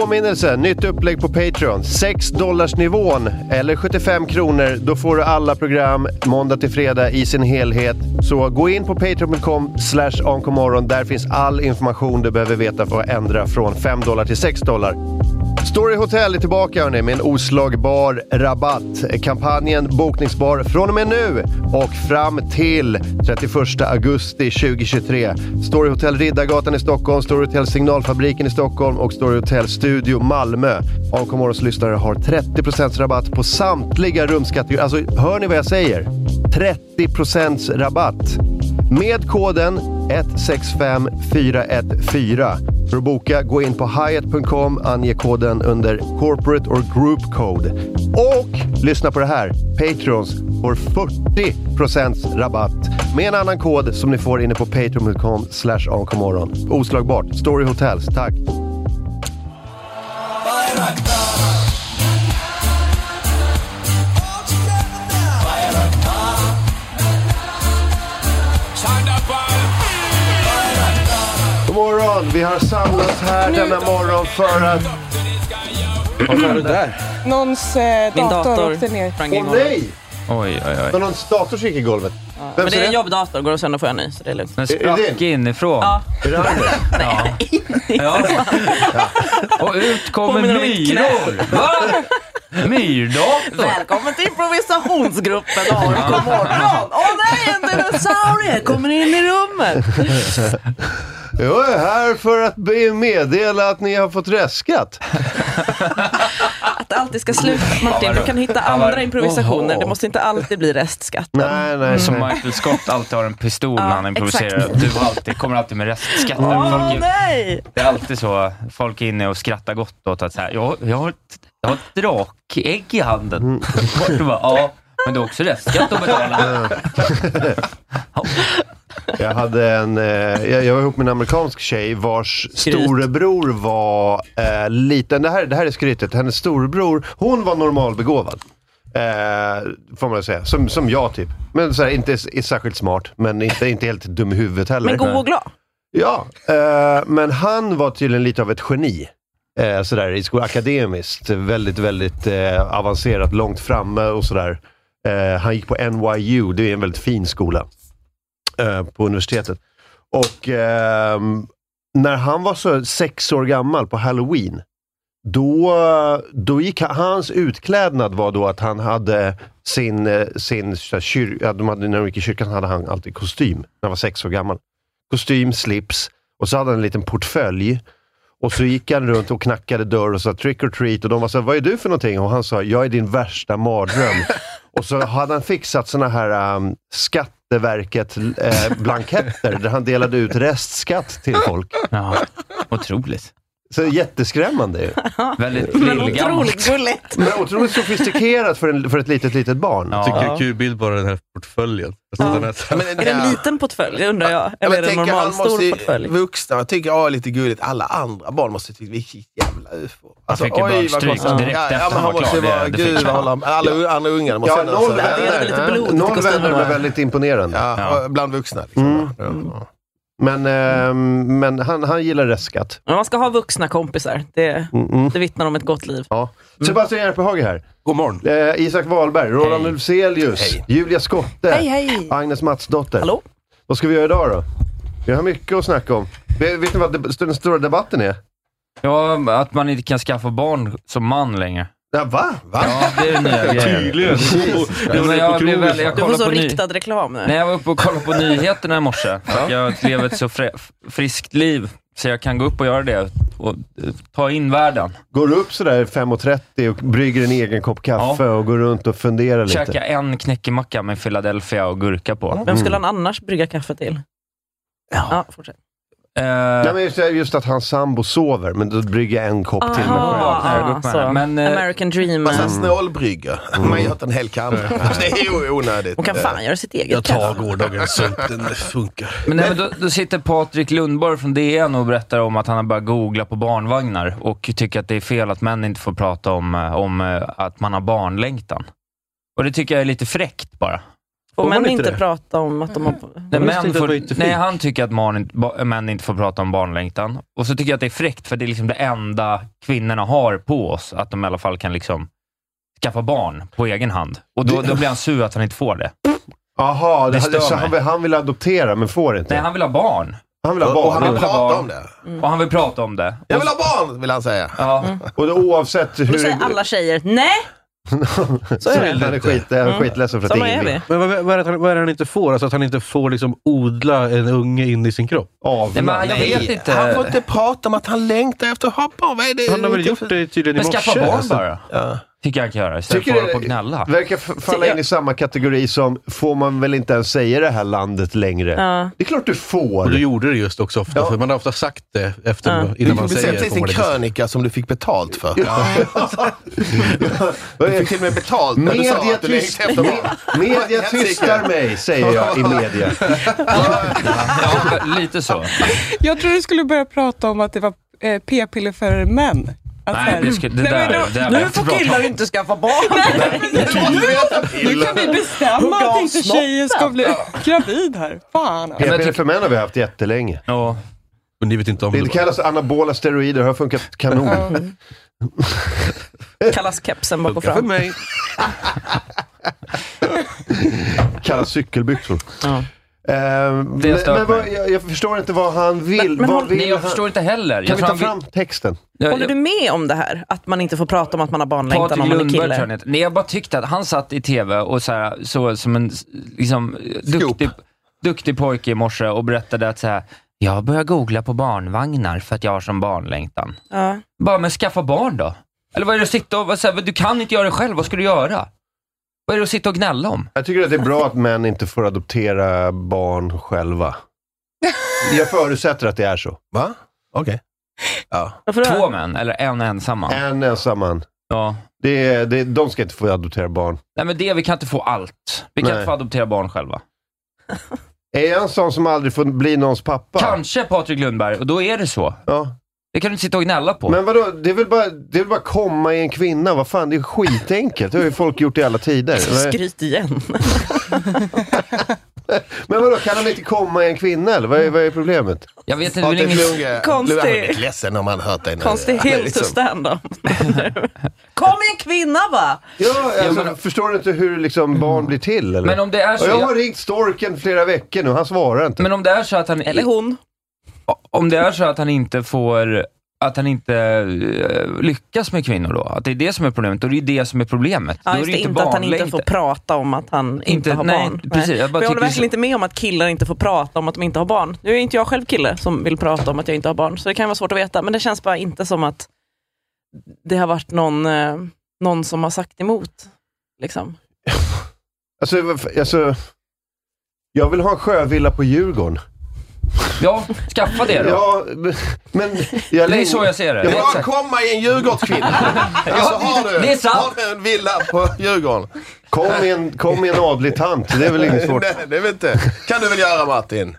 Påminnelse, nytt upplägg på Patreon. 6 nivån eller 75 kronor. Då får du alla program måndag till fredag i sin helhet. Så gå in på patreon.com slash onkomorron. Där finns all information du behöver veta för att ändra från 5 dollar till 6 dollar. Story Hotel är tillbaka hörni, med en oslagbar rabatt. Kampanjen bokningsbar från och med nu och fram till 31 augusti 2023. Story Hotel Riddargatan i Stockholm, Story Hotel Signalfabriken i Stockholm och Story Hotel Studio Malmö. AMK Morgons lyssnare har 30% rabatt på samtliga rumskategorier. Alltså, hör ni vad jag säger? 30% rabatt med koden 165414. För att boka, gå in på hyatt.com, ange koden under corporate or group code. Och lyssna på det här! Patrons får 40% rabatt med en annan kod som ni får inne på patreon.com slash onkomorron. Oslagbart! Story Hotels, tack! God morgon! Vi har samlats här denna morgon för att... Vad fan är det där? Mm. Någons eh, Min dator, dator åkte ner. sprang in. Åh nej! Oj, oj, Det var oj. någon dator som gick i golvet. Vem Men det är en är det? jobbdator, går det sönder får jag en ny. Så det är lugnt. Den Är det sprack din? inifrån. Ja. Är det Agnes? Ja. Ja. Och ut kommer Påminner om ett myror. Va? Myrdator? Välkommen till improvisationsgruppen AIK morgon. Åh nej, en dinosaurie kommer in i rummet. Jag är här för att be- meddela att ni har fått reskat. Att det alltid ska sluta. Martin, du kan hitta Ja, vad- andra improvisationer. Oho. Det måste inte alltid bli restskatt. Nej, nej. Mm. Som Michael Scott alltid har en pistol när han improviserar. exakt. Du alltid, kommer alltid med restskatten. Åh Folk är, nej! det är alltid så. Folk är inne och skrattar gott åt att så här, jag, jag, har ett, jag har ett drakägg i Mm. handen. Du bara, ja, men det är också restskatt att betala. Jag, hade en, eh, jag, jag var ihop med en amerikansk tjej vars storebror var eh, liten. Det här, det här är skrytet. Hennes storebror, hon var normalbegåvad. Eh, får man säga. Som, som jag typ. Men så här, inte s- är särskilt smart, men inte, inte helt dum i huvudet heller. Men god och glad. Ja, eh, men han var tydligen lite av ett geni. Eh, sådär i skolan, akademiskt. Väldigt, väldigt eh, avancerat, långt framme och sådär. Eh, han gick på NYU, det är en väldigt fin skola. Eh, på universitetet. Och ehm, när han var så sex år gammal på halloween, då, då gick han, hans utklädnad var då att han hade sin, eh, sin så här, kyr, ja, de hade, när de gick i kyrkan hade han alltid kostym, när han var sex år gammal kostym, slips och så hade han en liten portfölj. Och så gick han runt och knackade dörr och sa trick or treat och de var så här, vad är du för någonting? Och han sa, jag är din värsta mardröm. och så hade han fixat såna här um, Skatteverket-blanketter där han delade ut restskatt till folk. Ja, otroligt. Så jätteskrämmande ju. Väldigt Men lillgammalt. otroligt gulligt. Men otroligt sofistikerat för, en, för ett litet, litet barn. Ja. tycker jag. Kul bild bara den här portföljen. Jag tror den är så här- Är det en liten portfölj, undrar jag? Eller är det en tänk, han måste normalstor ju- portfölj? Vuxna jag tycker ja, är lite gulligt. Alla andra barn måste tycka vilket jävla ufo. Alltså, Alltså, fick ju bakstryk konstigt. direkt ja, efter ja, men han var han måste klar. vara, Det- det fick gud vad han. håller han- Alla u- andra ungar måste Ja, känna noll sig- det är lite vänner. blodigt eh, i Noll kostymen vänner då. blev väldigt imponerande. Ja, Ja. och Bland vuxna. Liksom. Mm. Ja. Men, ehm, men han, han gillar restskatt. Men Man ska ha vuxna kompisar. Det, Mm, det vittnar om ett gott liv. Mm. Ja. Sebastian Järpehage här. God morgon. Eh, Isak Wahlberg, Roland Ulfzelius, Julia Skotte, Hej, hej. Agnes Matsdotter. Hallå? Vad ska vi göra idag då? Vi har mycket att snacka om. Vet, vet ni vad deb- den stora debatten är? Ja, att man inte kan skaffa barn som man längre. Ja, va? va? Ja, det är den nya grejen. Tydligen. Ja, men jag blev väl, jag Du får kollade så på ny- riktad reklam nu. Nej, jag var uppe och kollade på nyheterna i morse. Jag lever ett så frä- f- friskt liv, så jag kan gå upp och göra det och eh, ta in världen. Går du upp sådär 5.30 och brygger en egen kopp kaffe och går runt och funderar lite? Käka en knäckemacka med Philadelphia och gurka på. Vem skulle han annars brygga kaffe till? Ja, fortsätt. Eh, Nej, men just, just att hans sambo sover, men då brygger jag en kopp till mig Aha. själv. jag går upp med så. det. Men, eh, Mm. American dream. Massa snålbryggor. Mm. Man gör inte en hel kanna. Det är ju onödigt. Eh, Hon kan fan göra sitt eget Jag tar kaffe. gårdagens sump, den funkar. Men, nej, men då, då sitter Patrik Lundborg från DN och berättar om att han har börjat googla på barnvagnar och tycker att det är fel att män inte får prata om, eh, om eh, att man har barnlängtan. Och det tycker jag är lite fräckt bara. Får Får man män inte inte det? prata om att de har... Nej, Jag visste män inte att det var får, jättefint. nej, han tycker att man inte, ba, män inte får prata om barnlängtan. Och så tycker jag att det är fräckt, för det är liksom det enda kvinnorna har på oss, att de i alla fall kan liksom skaffa barn på egen hand. Och då, då blir han sur att han inte får det. Jaha, det Det stör så mig. han, vill- han vill adoptera men får inte? Nej, han vill ha barn. han vill ha Och han barn. vill vill ha prata barn. om det. Och han vill prata om det. Jag vill ha barn, vill han säga. Ja. Och då, oavsett Då hur säger alla tjejer nej. så är det. Han är, skit, han är skitledsen för att Såna är ingen vi. vill Men vad, vad, är det, att han- vad är det han inte får? Alltså att han inte får liksom odla en unge in i sin kropp? Nej, avla. men jag vet inte. Han får inte prata om att han längtar efter att ha barn. Vad är det? Han har väl gjort det tydligen Men i morse. skaffa barn alltså. bara. Ja. Tycker jag han kan göra istället för Tycker att hålla du- på och gnälla. Verkar f- falla in i samma kategori som, får man väl inte ens säga det här landet längre? Ja. Det är klart du får. Och du gjorde det just också ofta, Ja. för man har ofta sagt det efter, Ja. Du innan man publicerade säger precis får en man inte- krönika som du fick betalt för. Du fick till och med betalt när du sa Media, att du längtade tyst, efter barn. media tystar mig, säger jag i media. Ja, lite så. Jag tror du skulle börja prata om att det var eh, p-piller för män. Att så Nej, här- det, ska, det men då- där... Det där Nu får killar inte skaffa barn. Nu kan vi bestämma Hugga av att inte tjejen ska snoppen. bli gravid här. Fan. alltså. p typ- för män har vi haft jättelänge. Ja. Men ni vet inte om Det det. bara. kallas anabola steroider, har funkat kanon. Kallas kepsen bak och Funkar för fram. mig. Kallas cykelbyxor. Ja. Eh, men Det stör men vad, mig. jag, jag förstår inte vad han vill. Men- men vad håll- vill Nej, jag han? förstår inte heller. Kan Jag tror vi ta han vill- fram texten? jag- Håller du med om det här? Att man inte får prata om att man har barnlängtan Patrik om man är Lundberg tror jag han kille? heter. Nej, jag bara tyckte att han satt i TV och så här, så som en liksom, duktig, duktig pojke i morse och berättade att så här, jag börjar googla på barnvagnar för att jag har som barnlängtan. Ja. Bara, men skaffa barn då. Eller vad är det att sitta och, vad, så här, du kan inte göra det själv, vad ska du göra? Vad är det att sitta och gnälla om? Jag tycker att det är bra att män inte får adoptera barn själva. Jag förutsätter att det är så. Va? Okej. Ja. Varför då? Två män, eller en ensam man. En ensam man. Ja. Det är, det, de ska inte få adoptera barn. Nej men det, vi kan inte få allt. Vi kan Nej. inte få adoptera barn själva. Är jag en sån som aldrig får bli någons pappa? Kanske Patrik Lundberg, och då är det så. Ja. Det kan du inte sitta och gnälla på. Men vadå, det är, väl bara, det är väl bara komma i en kvinna? Vad fan, det är skitenkelt. Det har ju folk gjort i alla tider. Men- Skryt igen. Men vadå, kan han inte komma i en kvinna eller? Vad är, vad är problemet? Jag vet inte, det är Patrik inget... Lundgren, Konstig- nu är han blivit ledsen om han hört dig nu. Konstig Han är hill to liksom- stand on. Kom en kvinna va? Ja, alltså, förstår du inte hur liksom barn blir till eller? Men om det är så... Och jag jag- har ringt storken flera veckor nu, han svarar inte. Men om det är så att han... Eller hon. Om det är så att han inte får... Att han inte eh, lyckas med kvinnor då? Att det är det som är problemet? Då är det ju det som är problemet. Ja, då är just det det, inte att han inte får prata om att han inte, Inte- har nej, barn. precis, jag bara jag, jag tycker håller det är verkligen så- inte med om att killar inte får prata om att de inte har barn. Nu är inte jag själv kille som vill prata om att jag inte har barn, så det kan vara svårt att veta. Men det känns bara inte som att det har varit någon, eh, någon som har sagt emot. Liksom. Alltså, varför- alltså, jag vill ha en sjövilla på Djurgården. Ja, skaffa det då. Ja, men... Jag Det är så jag ser det. Det Det är bara exakt. komma i en Djurgårdskvinna. Alltså, har du, det är sant. Har du en villa på Djurgården? Kom i en, kom i en adlig tant, det är väl inget svårt. Nej, det vet inte. kan du väl göra Martin?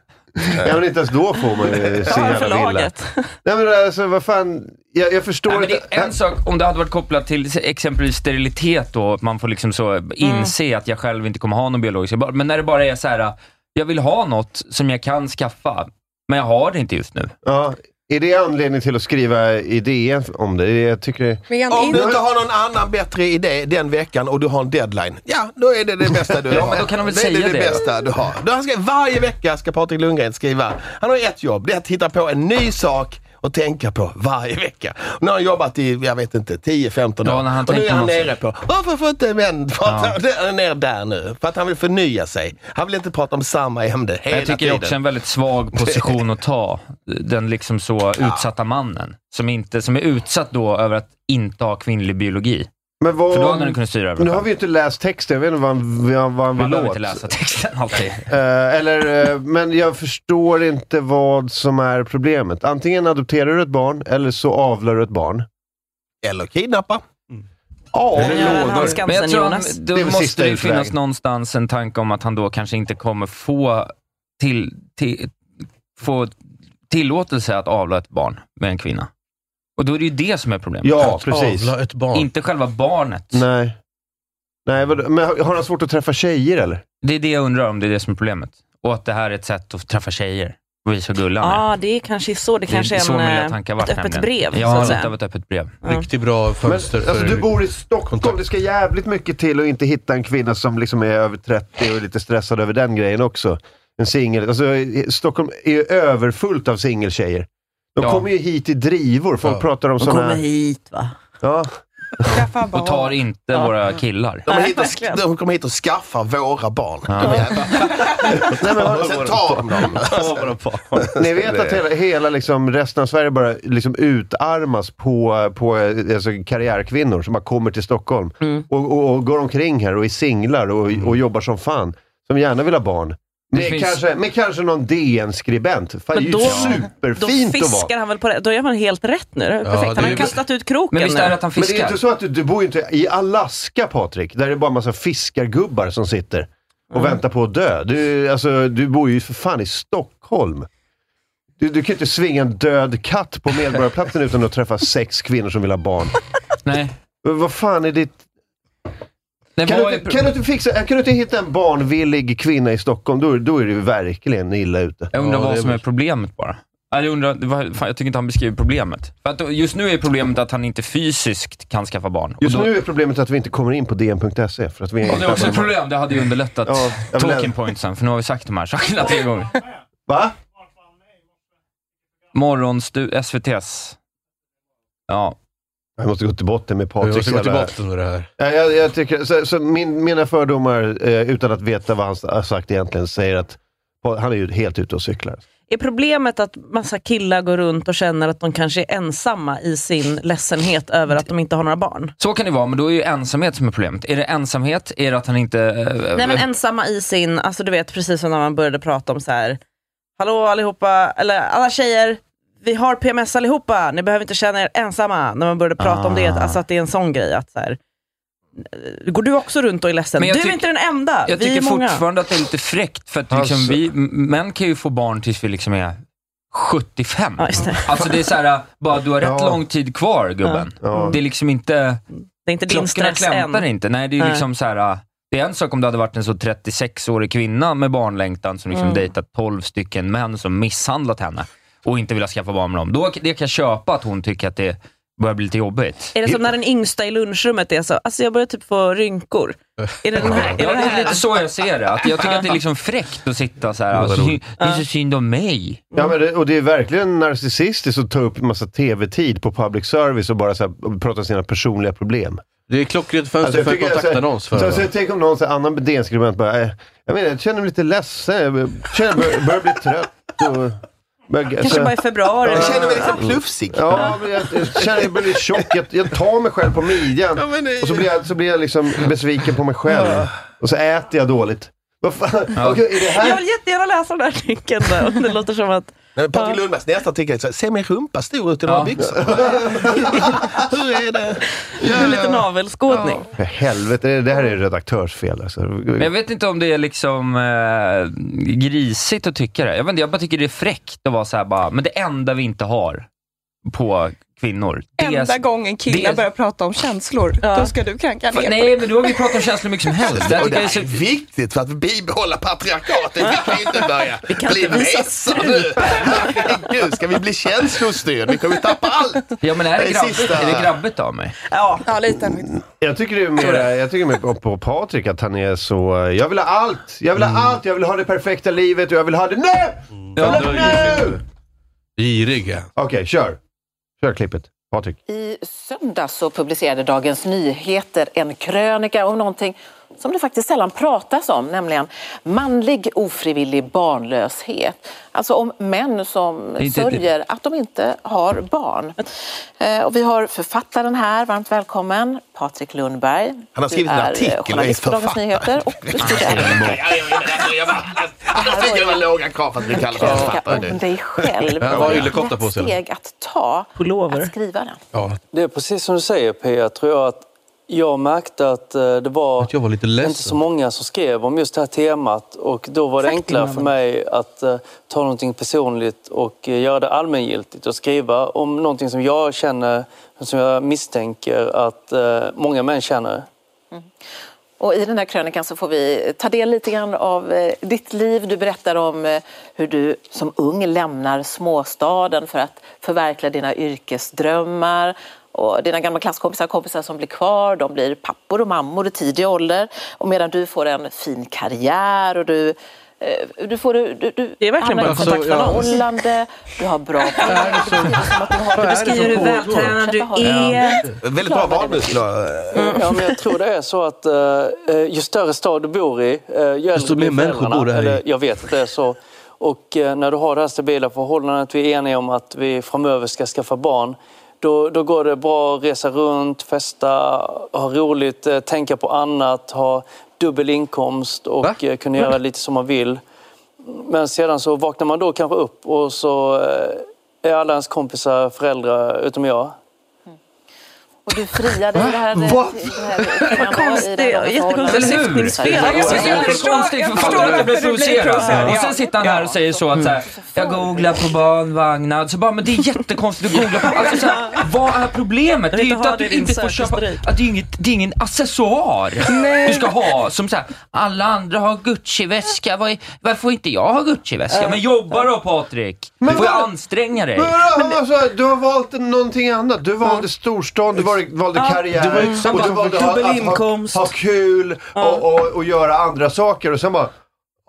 Ja, men inte ens då får man eh, ju sin Ja, jävla villa. förlaget. Nej men alltså vad fan, jag, jag förstår Nej, men inte. det är en sak om det hade varit kopplat till exempelvis sterilitet då, att man får liksom så Mm. inse att jag själv inte kommer ha någon biologisk barn. Men när det bara är så här, jag vill ha något som jag kan skaffa, men jag har det inte just nu. Ja, är det anledning till att skriva i DN om det? Jag tycker... Men jag- Om du inte har någon annan bättre idé den veckan och du har en deadline, ja då är det det bästa du Ja, har. men då kan de väl det säga är det, det. bästa du har. Du, han ska, varje vecka ska Patrik Lundgren skriva, han har ett jobb, det är att hitta på en ny sak att tänka på varje vecka. Nu har han jobbat i, jag vet inte, 10-15 år. Ja, när han och nu är tänker han någonstans. nere på, varför får inte män prata Ja. det är ner där nu? För att han vill förnya sig. Han vill inte prata om samma ämne hela Jag tycker det är tiden. också en väldigt svag position att ta. Den liksom så utsatta mannen, som, inte, som är utsatt då över att inte ha kvinnlig biologi. Men vad, För då hade den kunnat styra över Nu det. har vi ju inte läst texten, jag vet inte vad han, vad han- vad han Man vill behöver åt. inte läsa texten alltid. Eh, eller, eh, men jag förstår inte vad som är problemet. Antingen adopterar du ett barn, eller så avlar du ett barn. Eller kidnappa. Mm. Ja, Eller lånar. Men jag tror han, Det är då väl måste sista det ju finnas utvägen. någonstans en tanke om att han då kanske inte kommer få, till, till, få tillåtelse att avla ett barn med en kvinna. Och då är det ju det som är problemet. Ja, Att precis. avla ett barn. Inte själva barnet. Nej. Nej, vadå? men har har han svårt att träffa tjejer eller? Det är det jag undrar om det är det som är problemet. Och att det här är ett sätt att träffa tjejer och visa hur gullig han är. Ja, det är kanske så. Det kanske så är mina en, eh, tankar ett varit öppet nämligen. brev. så Ja, att lite av säga. ett öppet brev. Riktigt bra Men, fönster alltså, för... du bor i Stockholm, det ska jävligt mycket till att inte hitta en kvinna som liksom är över 30 och är lite stressad över den grejen också. En singel. Alltså, i- Stockholm är ju överfullt av singeltjejer. De Ja. kommer ju hit i drivor. Folk Ja. pratar om De sådana... kommer hit va? Ja. Och tar inte våra killar. De, är hit och, de kommer hit och skaffar våra barn. De jävla- och sen tar de dem. Ni vet att hela, hela liksom resten av Sverige bara liksom utarmas på, på eh, alltså karriärkvinnor som bara kommer till Stockholm Mm. och, och, och går omkring här och är singlar och, och jobbar som fan. Som gärna vill ha barn. Med, finns- kanske, med kanske någon DN-skribent. Fan, det är ju då superfint att vara. fiskar han väl på det. Då gör man helt rätt nu. Det är Perfekt. han har ju kastat ut kroken. nu. Men det är inte så att du, du bor ju inte i Alaska, Patrik, där det är bara massa fiskargubbar som sitter och Mm. väntar på att dö. Du, alltså, du bor ju för fan i Stockholm. Du, du kan ju inte svinga en död katt på Medborgarplatsen utan att träffa sex kvinnor som vill ha barn. Nej. Vad fan är ditt... Nej, Kan vad du, är inte, pro- kan, du inte fixa, kan du inte hitta en barnvillig kvinna i Stockholm, då, är- då är du verkligen illa ute. Jag undrar Ja, vad det som är problemet bara. Nej, Jag, undrar, det var- fan, jag tycker inte han beskriver problemet. För att just nu är problemet att han inte fysiskt kan skaffa barn. Och Just då- nu är problemet att vi inte kommer in på dn.se. För att vi Ja, det är också ett problem. Det hade ju underlättat Ja, jag vill- talking pointsen, för nu har vi sagt de här sakerna tre gånger. Va? Morgonstu... SVT's. Ja. Jag måste gå till botten med Patrik. Jag måste gå till jävla- botten med det här. Ja, jag, jag tycker, så, så min, mina fördomar, eh, utan att veta vad han s- har sagt egentligen, säger att han är ju helt ute och cyklar. Är problemet att massa killar går runt och känner att de kanske är ensamma i sin ledsenhet över att de inte har några barn? Så kan det vara, men då är ju ensamhet som är problemet. Är det ensamhet? Är det att han inte... eh, Nej men ensamma i sin, alltså du vet precis som när man började prata om så här. hallå allihopa, eller alla tjejer, vi har PMS allihopa, ni behöver inte känna er ensamma. När man började prata om det, Ah. alltså att det är en sån grej. Att så här, går du också runt och är ledsen? Men jag Du är tyck- inte den enda, Jag vi tycker är många. fortfarande att det är lite fräckt, för att liksom, Alltså. vi, m- män kan ju få barn tills vi liksom är 75. Alltså det är så här, bara du har rätt Ja. lång tid kvar gubben. Ja. Det är liksom inte... Det är inte din Klockorna stress klämtar än. inte. Nej, det är ju Nej. liksom så här... äh, Det är en sak om det hade varit en så 36-årig kvinna med barnlängtan som liksom Mm. dejtat 12 stycken män som misshandlat henne och inte velat skaffa barn med dem. Då det kan jag köpa att hon tycker att det börjar bli lite jobbigt. Är det som när den yngsta i lunchrummet är så, alltså jag börjar typ få rynkor. Är det den här? Ja, det är lite så jag ser det. Att jag tycker att det är liksom fräckt att sitta så här. Alltså, det är så synd om mig. Ja, men det, och det är verkligen narcissistiskt att ta upp en massa tv-tid på public service och bara så här, och prata om sina personliga problem. Det är klockrent fönster Alltså, jag för en tycker- kontaktannons. Så, så, För, så, tänk om någon så här, annan DN-skribent bara, eh, jag, menar, jag känner mig lite ledsen, jag bör- känner, bör, börjar bli trött. Och, börjar- Kanske så- bara i februari. Jag känner mig lite plufsig. Ja, men jag, jag känner jag blir lite tjock. Jag, jag tar mig själv på midjan. och så blir jag, så blir jag liksom besviken på mig själv. Och så äter jag dåligt. Vad fan? Okej, är det Jag här? vill jättegärna läsa den här artikeln. där. Det låter som att... Nej, Patrik Lundbergs nästa artikel är så här, ser min rumpa stor ut i några Ja. byxor? Hur är det? Det är lite navelskådning. För helvete, det, det här är ju redaktörsfel. Alltså. Men jag vet inte om det är liksom eh, grisigt att tycka det. Jag, vet inte, jag bara tycker det är fräckt att vara så här bara, men det enda vi inte har på kvinnor. det är- Enda gången killar det- börjar prata om känslor, då ska du kranka ner. Nej, men då har vi pratat om känslor mycket som helst. Det här Och det tycker jag är här så är viktigt för att bibehålla patriarkatet. Vi kan ju inte börja bli mesar nu. Herregud, ska vi bli känslostyrda? Vi kommer ju tappa allt. Ja, men är Det det, är grabbigt, sista. är det grabbigt av mig? Ja, ja lite. Jag tycker det är mer, jag tycker mer på, på Patrik att han är så, eh, jag vill ha Mm. allt, jag vill ha allt, jag vill ha det perfekta livet och jag vill ha det nu! Jag vill ha det nu! Giriga. Okej, kör. Kör klippet. Patrik. I söndags så publicerade Dagens Nyheter en krönika om någonting som det faktiskt sällan pratas om, nämligen manlig ofrivillig barnlöshet. Alltså om män som Det är inte- sörjer att de inte har barn. Eh, Och vi har författaren här, varmt välkommen, Patrik Lundberg. Han har skrivit du en är artikel och eh, är journalist på Dagens författare. Nyheter och du studerar. Annars tycker alltså, jag det var låga krav för att bli kallad för författare om nu. dig själv. Ja, vad yllekotta på sig, eller? steg att ta att skriva den? Det är precis som du säger Pia, tror jag att jag märkte att eh, det var, inte så många som skrev om just det här temat och då var det Exakt, enklare Ingmar. för mig att eh, ta någonting personligt och eh, göra det allmängiltigt och skriva om någonting som jag känner, som jag misstänker att eh, många män känner. Och I den här krönikan så får vi ta del lite grann av eh, ditt liv. Du berättar om eh, hur du som ung lämnar småstaden för att förverkliga dina yrkesdrömmar. Och dina gamla klasskompisar och kompisar som blir kvar de blir pappor och mammor i tidig ålder. Och medan du får en fin karriär och du, eh, du, får, du, du, du det är verkligen bara kontakt kontakt- med Alltså, förhållande, du har bra Vad pengar. är det som beskriver hur pågår? vältränad du är. Väldigt bra valmuskel. Ja, men jag tror det är så att eh, eh, ju större stad du bor i, eh, ju äldre Desto mer blir människor föräldrarna. bor där i. Eller, Jag vet att det är så. Och eh, när du har det här stabila förhållandet, vi är eniga om att vi framöver ska skaffa barn, då, då går det bra att resa runt, festa, ha roligt, eh, tänka på annat, ha dubbel inkomst och eh, kunna göra lite som man vill. Men sedan så vaknar man då kanske upp och så eh, är alla ens kompisar föräldrar utom jag. Och du friar dig i det här... Vad konstigt. Jättekonstigt Eller hur? syftningsfel. Ja, jag förstår- jag förstår- konstigt jag för förstår fan att jag blev varför du blir provocerad. provocerad, Och ja. Mm. sen sitter han här och säger så att så här, jag googlar på barnvagnar. Så bara, men det är jättekonstigt att googla på. Alltså, så här, vad är problemet? Det är ju inte att du inte får köpa, att det är inget, det är ingen accessoar du ska ha. Som så här, alla andra har Gucci-väska, vad är- varför får inte jag ha Gucci-väska? Men jobba då Patrik! Du får ju anstränga dig. Men, men, alltså, du har valt någonting annat. Du valde storstan, du valde, valde Ja. karriär. Det var ju och exakt- du valde att, Dubbel att ha, ha kul och, och, och göra andra saker. Och sen bara,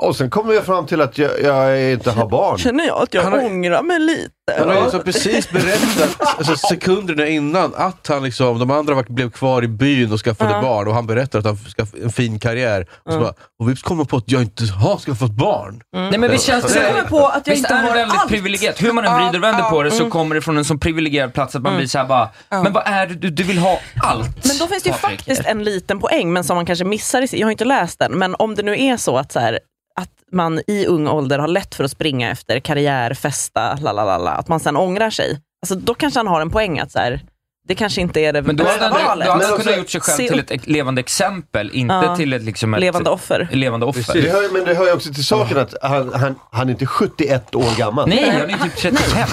och sen kommer jag fram till att jag, jag inte har barn. Känner jag att jag ångrar mig lite. Han har ju liksom precis berättat, alltså sekunderna innan, att han liksom, de andra var, blev kvar i byn och skaffade Ja. barn. Och han berättar att han skaffade en fin karriär. Och, så bara, och vips kommer på att jag inte har skaffat barn. Mm. Mm. Nej men visst känns Ja. det... Ja. visst är det väldigt privilegierat? Hur man än vrider och vänder på det så Mm. kommer det från en sån privilegierad plats att man blir såhär bara, men vad är det du, du vill ha allt? Men då finns det ju Patrik. faktiskt en liten poäng, men som man kanske missar. I, sin- jag har inte läst den, men om det nu är så att, så här, att man i ung ålder har lätt för att springa efter karriär, festa, la la la la, att man sen ångrar sig. Alltså, då kanske han har en poäng att så här, det kanske inte är det Men då hade bästa han, valet. då hade han kunnat gjort sig själv Se till upp. ett levande exempel, inte Ja. till ett, liksom ett Levande offer. Levande offer. Precis. Det hör, ju- men det hör ju också till saken att han, han, han är inte 71 år gammal. Nej, han är typ 35.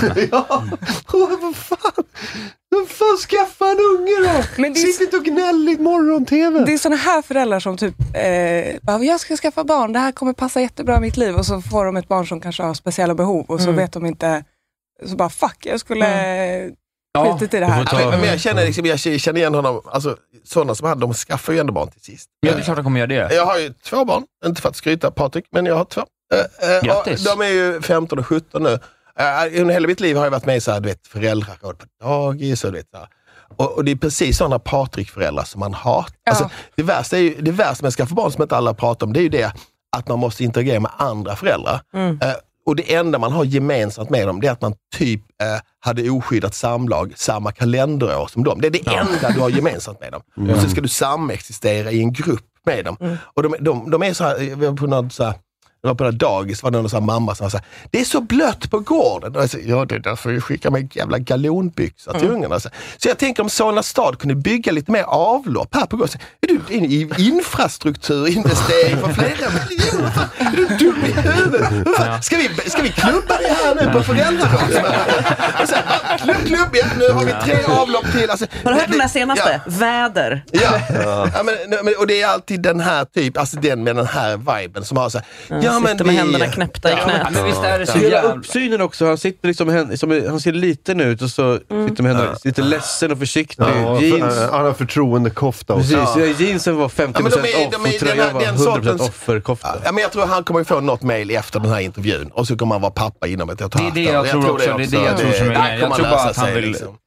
Vad fan, skaffa en unge då! Men det Sitt inte och gnäll i morgon-tv. Det är sådana här föräldrar som typ, eh, bara, jag ska skaffa barn, det här kommer passa jättebra i mitt liv. Och så får de ett barn som kanske har speciella behov och så Mm. vet de inte, så bara fuck, jag skulle eh, skitit i det här. Ja, men, men jag, känner, liksom, jag känner igen honom. Alltså, sådana som han, de skaffar ju ändå barn till sist. Ja, det är klart han kommer göra det. Jag har ju två barn, inte för att skryta Patrik, men jag har två. Eh, eh, Grattis. och de är ju 15 och 17 nu. Eh, under hela mitt liv har jag varit med i så här, du vet, föräldraråd på dagis och du vet, så här. och, och det är precis sådana Patrik-föräldrar som man hatar. Alltså, det, värsta är ju, det värsta med att skaffa barn som inte alla pratar om, det är ju det att man måste interagera med andra föräldrar. Eh, och det enda man har gemensamt med dem, det är att man typ eh, hade oskyddat samlag samma kalenderår som dem. Det är det enda du har gemensamt med dem. Mm. Och så ska du samexistera i en grupp med dem. Och de, de, de är så här, vi var på något så här, jag var på något dagis, var det någon så här mamma som var så här, det är så blött på gården. Och jag sa, ja, det där får vi skicka med jävla galonbyxor till Mm. ungarna. Så, så jag tänker om Solna stad kunde bygga lite mer avlopp här på gården. Så, Är du en i- infrastrukturinvestering för flera miljoner? Fan, Är du dum i huvudet? Hur fan- Ska vi, ska vi klubba det här nu på föräldrarådsmötet? Och så här, Slutklubb! Ja, nu har vi tre avlopp till. Alltså, Har du hört det- den där senaste? Väder. Ja. ja, men, nu- men, och det är alltid den här typ, alltså den med den här viben som har så här, ja, men sitter med vi... händerna knäppta i Ja, knät. men visst är det så Hela jävla- uppsynen också. Han, sitter liksom, hän- som, han ser liten ut och så Mm. sitter med händerna lite ledsen och försiktig. Ja, och Jeans. för, han har förtroendekofta också. Precis, ja. jeansen var 50% Ja, men de är- off de är- och tröjan den- var den 100% sortens- offerkofta. Ja, men jag tror han kommer få något mail efter den här intervjun och så kommer han vara pappa inom ett och ett Det är halvt det jag, tror också. Det är det jag tror som är där grejen. kommer Jag tror bara lösa att han sig, vill... liksom.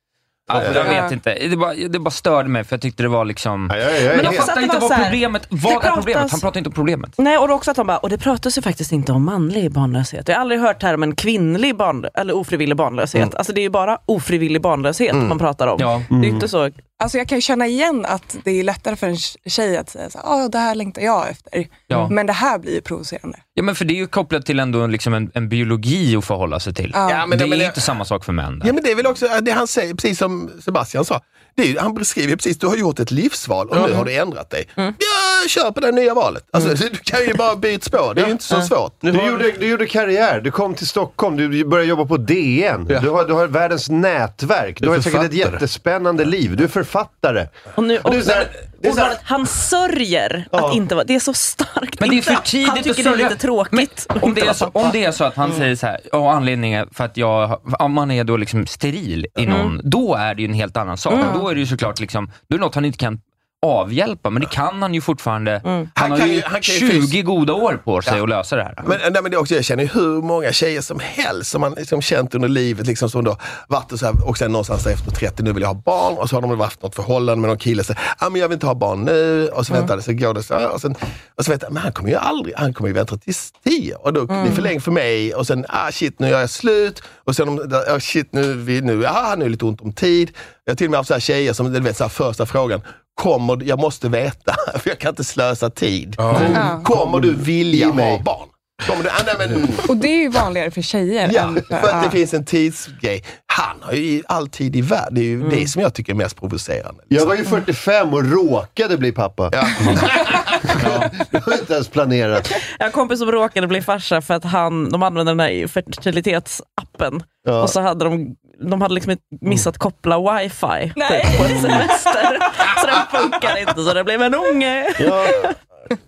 Ja, Ja. jag vet inte. Det bara, det bara störde mig för jag tyckte det var liksom... jag men jag vet. fattar Det inte var så vad här, problemet... det Vad är problemet? pratas- Han pratar inte om problemet. Nej, och också att de bara, och det pratas ju faktiskt inte om manlig barnlöshet. Jag har aldrig hört termen kvinnlig barn, eller ofrivillig barnlöshet. Mm. Alltså det är ju bara ofrivillig barnlöshet man pratar om. Det är Mm. ju inte så Alltså jag kan ju känna igen att det är lättare för en tjej att säga så här, "Ah, det här längtar jag efter. Ja. Men det här blir ju provocerande. Ja, men för det är ju kopplat till ändå liksom en, en biologi att förhålla sig till. Ja. Ja, men det det- men är det- inte samma sak för män. Ja men det är väl också det han säger, precis som Sebastian sa. Det är, ju- han beskriver ju precis, du har gjort ett livsval och nu har du ändrat dig. Mm. Ja, kör på det nya valet. Alltså, Du kan ju bara byta spår, det är ju inte så svårt. Du gjorde, du gjorde karriär, du kom till Stockholm, du började jobba på DN. Du, har, du har världens nätverk, du, är har säkert ett författare. jättespännande liv. Du är författare. Och nu, Och det är så här- det är så här- ordvalet, han sörjer att inte vara... Det är så starkt. Men det är för Inte- tidigt han tycker att det sörja. är lite tråkigt. att Om inte det, är vara så, pappa. om det är så att han Mm. säger så här, "Ja, anledningen är för att jag, om man är då liksom steril i någon, då är det ju en helt annan sak. Mm. Då är det ju såklart liksom, då är det något han inte kan avhjälpa, men det kan han ju fortfarande. Han, Mm. Han har kan ju, ju- han kan ju 20 fys- goda år på sig Ja. att lösa det här. Men, nej, men det är också, jag känner ju hur många tjejer som helst som man liksom känt under livet liksom, som då varit och, så här, och sen någonstans efter 30, nu vill jag ha barn och så har de väl haft något förhållande med någon kille. Så, ah, men jag vill inte ha barn nu och så väntar det, så går det så här, och, sen, och så vet jag, men han kommer ju aldrig, han kommer ju vänta tills 10 och då blir det för länge för mig och sen, ah shit nu gör jag slut och sen, om- ah, shit nu, vi, nu, ah, nu är det lite ont om tid. Jag har till och med haft så här tjejer som, du vet, så här, första frågan, Kommer, jag måste veta, för jag kan inte slösa tid. Ja. Kommer du vilja ha barn? Kommer du, ah, nej, men, Och det är ju vanligare för tjejer. ja, än Mm. för att ja. det finns en tidsgrej. Han har ju all tid i världen. Det är ju det som jag tycker är mest provocerande. Mm. liksom. Jag var ju 45 och råkade bli pappa. det var inte ens planerat. Jag har en kompis som råkade bli farsa för att han, de använde den här fertilitetsappen. Ja. Och så hade de, de hade liksom missat koppla wifi typ, på en semester. så den funkade inte, så det blev en unge. Ja,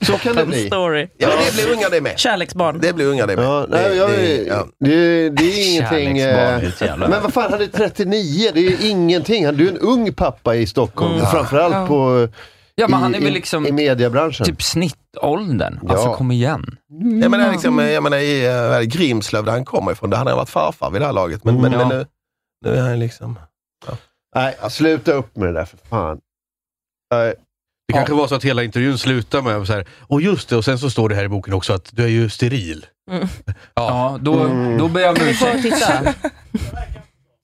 så kan det En bli. Story. Ja, men det blir unga det med. Kärleksbarn. Det blir unga det med. Ja, nej, det, jag, det- ja. det, det är ingenting... Kärleksbarn, ett Eh, jävla- men vad fan, han är 39, det är ju ingenting. Han- Du är en ung pappa i Stockholm, Mm. framförallt Ja. på... Ja, men i, han är väl i- liksom- I mediebranschen. Typ snittåldern. Alltså kom igen. Jag menar, liksom, jag menar i eh, Grimslöv där han kommer ifrån, där hade han varit farfar vid det här laget. Men, men, Ja. men nu, nu är han liksom... Nej, sluta upp med det där för fan. Nej. Det kanske var så att hela intervjun slutade med så här, och just det, och sen så står det här i boken också att du är ju steril. Mm. Ja, då, då ber jag om Kan vi få ursäkt. titta?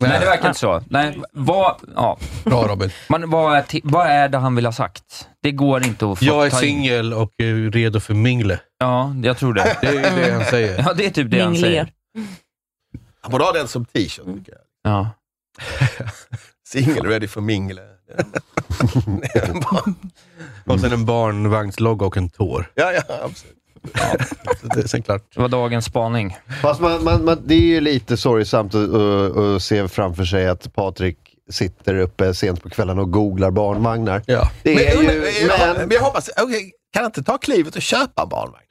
Nej, det verkar inte så. Nej, vad, ja. Bra Robin. Men vad är, ti- vad är det han vill ha sagt? Det går inte att få Jag är ta in. singel och eh, redo för mingle. Ja, jag tror det. Det är det han säger. Ja, det är typ det han Mingle. säger. Han borde ha den som t-shirt. tycker jag. Ja. Single ready for mingle. Och sen en barnvagnslogga och en tår. Ja, ja, absolut. Det är sen klart. Det var dagens spaning. Fast man, man, man, det är ju lite sorgsamt att, att, att se framför sig att Patrik sitter uppe sent på kvällen och googlar barnvagnar. Ja. Det är men, ju... jag, men jag hoppas, okej, kan han inte ta klivet och köpa en barnvagn?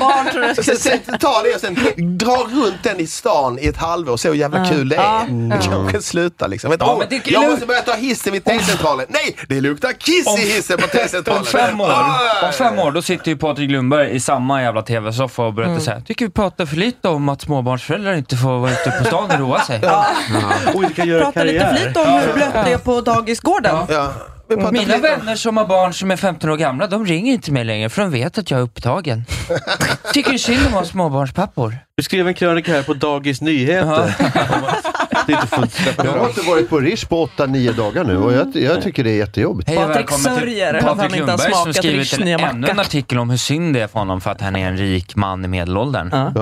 barn tror jag Sen, sen, ta det och sen dra runt den i stan i ett halvår och se hur jävla Ja. kul det Ja. är. Det kanske slutar liksom. Vet, du, Ja, oh, men det- jag måste börja ta hissen vid T-centralen. Nej, det luktar kiss Om- i hissen på T-centralen. Om fem år, Ah! om fem år då sitter ju Patrik Lundberg i samma jävla tv-soffa och Mm. berättar "Typ, såhär, tycker vi pratar för lite om att småbarnsföräldrar inte får vara ute på stan och roa sig. Och inte kan göra Prata lite karriär. flit om hur blött det är på dagisgården. Ja. Vi pratar Mina lite om- vänner som har barn som är 15 år gamla, de ringer inte mig längre för de vet att jag är upptagen. Tycker synd om oss småbarnspappor. Du skrev en krönika här på Dagis Nyheter. Om att det inte får släppa Jag har fram. inte varit på Rish på 8-9 dagar nu och jag, jag tycker det är jättejobbigt. Hej och välkommen till Patrik Lundberg som skrivit en, ännu en artikel om hur synd det är för honom för att han är en rik man i medelåldern. Ja.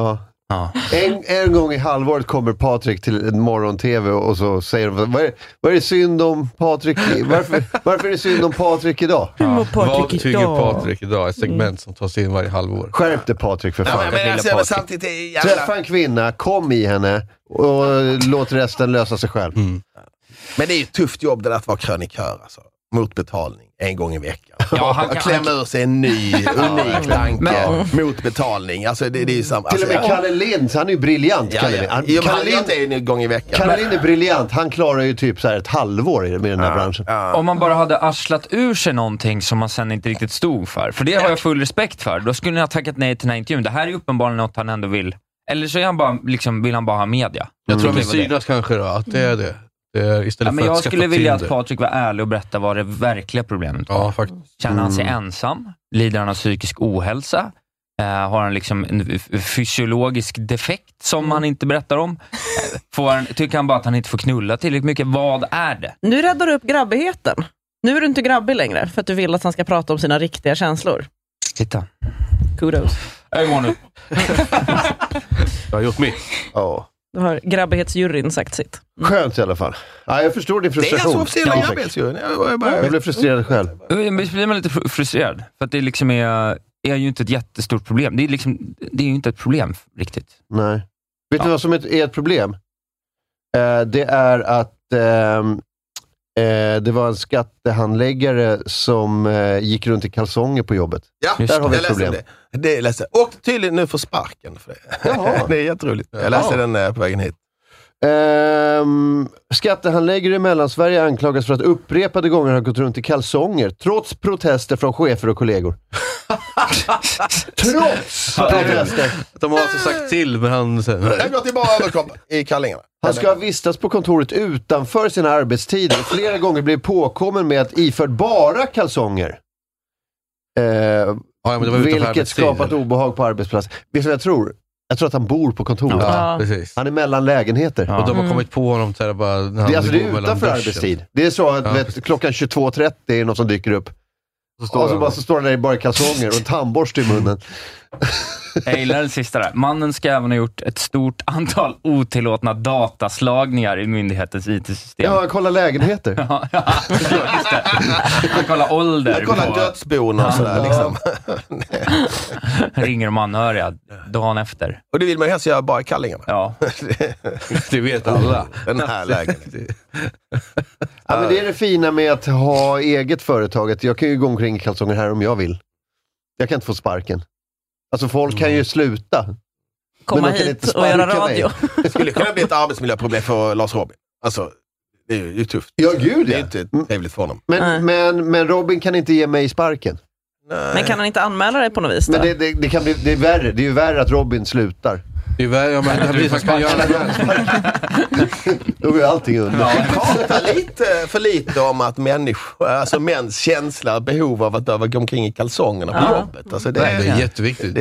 Ja. En, en gång i halvåret kommer Patrik till en morgon-tv och så säger de vad är, vad är det synd om Patrik? i- Varför, varför är det synd om Patrik idag? Vad tycker Patrik idag? Ett segment som tas in varje halvår. Skärp dig Patrik för fan. Ja, men alltså, men samtidigt är det jävla- Träffa en kvinna, kom i henne och låt resten lösa sig själv. Men det är ju ett tufft jobb det där att vara krönikör alltså. Mot betalning, en gång i veckan. Ja, han kan- och klämma ur sig en ny, unik tanke Men- mot betalning. Alltså, det, det är ju samma, Till och med alltså, Kalle Lind, han är ju briljant. Ja, Kalle ja. Lind. Han, Jo, men Kalle han gör Lind, inte det en gång i veckan. Kalle Lind är briljant, han klarar ju typ så här ett halvår i- med den här branschen. Om man bara hade arslat ur sig någonting som man sen inte riktigt stod för. För det har jag full respekt för. Då skulle ni ha tackat nej till den här intervjun. Det här är uppenbarligen något han ändå vill. Eller så är han bara, liksom, vill han bara ha media. Jag tror att vi Det var det. synas kanske då, att det är det. det är, Ja, istället men för jag att skaffa skulle vilja att Tinder. Patrik var ärlig och berätta vad det verkliga problemet var. Känner han sig Mm. ensam? Lider han av psykisk ohälsa? Eh, har han liksom en f- fysiologisk defekt som han inte berättar om? Eh, Får han, tycker han bara att han inte får knulla tillräckligt mycket? Vad är det? Nu räddar du upp grabbigheten. Nu är du inte grabbig längre, för att du vill att han ska prata om sina riktiga känslor. Titta. Kudos. Jag går nu. Jag har gjort mitt. Ja. Då har grabbighetsjuryn sagt sitt. Mm. Skönt i alla fall. Ja, jag förstår din frustration. alltså officiella Patrik. arbetsgivaren. Jag- jag bara- Jag blev frustrerad själv. Jag Eh, blir man lite fr- frustrerad, för att det liksom är, är ju inte ett jättestort problem. Det är, liksom, det är ju inte ett problem riktigt. Nej. Vet du vad som är ett problem? Eh, det är att ehm, eh, det var en skattehandläggare som eh, gick runt i kalsonger på jobbet. Ja, Där har vi jag ett läste problem. det. det läste. jag. Och tydligen nu får sparken för det. det är jätteroligt. Jag läste Jaha. den eh, på vägen hit. Ehm, skattehandläggare i Mellansverige anklagas för att upprepade gånger ha gått runt i kalsonger, trots protester från chefer och kollegor. Trots protester! De har alltså sagt till, men han säger Jag går till bara överkropp i kallingarna. Han ska ha vistats på kontoret utanför sina arbetstider och flera gånger blivit påkommen med att iförd bara kalsonger. men Eh, det var utanför vilket arbetstid, skapat obehag på arbetsplatsen. Vet du vad jag tror? Jag tror att han bor på kontoret. Ja, Ja. precis. Han är mellan lägenheter. Och de Mm. har kommit på honom så här, bara, när han Det, är alltså, det går är mellan utanför duschen. arbetstid. Det är så att Ja, vet, klockan 22.30 är någon som dyker upp. står och så, han bara, där. så står han där i bara i kalsonger och en tandborste i munnen. Jag gillar den sista där. Mannen ska även ha gjort ett stort antal otillåtna dataslagningar i myndighetens IT-system. Ja, kolla lägenheter. Ja, ja, just det. Han kollar ålder. Han kollar dödsbon och sådär, liksom. Ringer de anhöriga dagen efter. Och det vill man ju helst göra bara i kallingarna. Ja. det vet alla. Den här lägenheten. Ja, men det är det fina med att ha eget företag. Att jag kan ju gå omkring i kalsonger här om jag vill. Jag kan inte få sparken. Alltså folk Mm. kan ju sluta. Komma Men de kan hit inte och göra sparka mig. radio. Det skulle kunna bli ett arbetsmiljöproblem för Lars Robin. Alltså, det är ju det är tufft. Ja, gud Det ja. Mm. är inte trevligt för honom. Men, men, men Robin kan inte ge mig sparken. Men kan han inte anmäla dig på något vis? Då? Men det, det, det, kan bli, det är värre. Det är ju värre att Robin slutar. Det är värre, ja, men det blir- man kan göra Då går ju allting under. Prata lite för lite om att människor, alltså mäns känsla, behov av att behöva gå omkring i kalsongerna på Ja. jobbet. Alltså, det, Nej, det är jätteviktigt.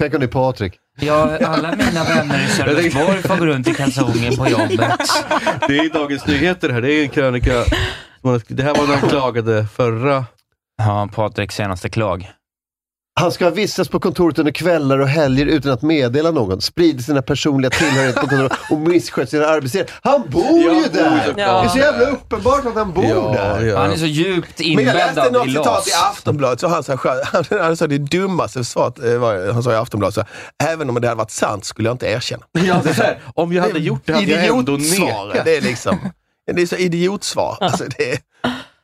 Tänk om det är Patrik. Ja, alla mina vänner i Sölvesborg får gå runt i kalsonger på jobbet. Det är Dagens Nyheter här. Det är en krönika. Det här var när han klagade förra... Ja, Patriks senaste klag. Han ska ha vistats på kontoret under kvällar och helger utan att meddela någon, spridit sina personliga tillhörigheter på kontoret och misskött sina arbetstider. Han bor Jag ju bor där! ju Det där. är så jävla uppenbart att han bor där. Han är så djupt Men jag inbäddad läste något i citat LAS. i Aftonbladet, så han sa, själv- han, han sa det dummaste svaret eh, var- han sa i Aftonbladet, så, här, även om det hade varit sant skulle jag inte erkänna. Ja, det här, om jag hade gjort det hade jag ändå Idiotsvar, nekat. Det är liksom, det är så idiotsvar. Alltså, det är,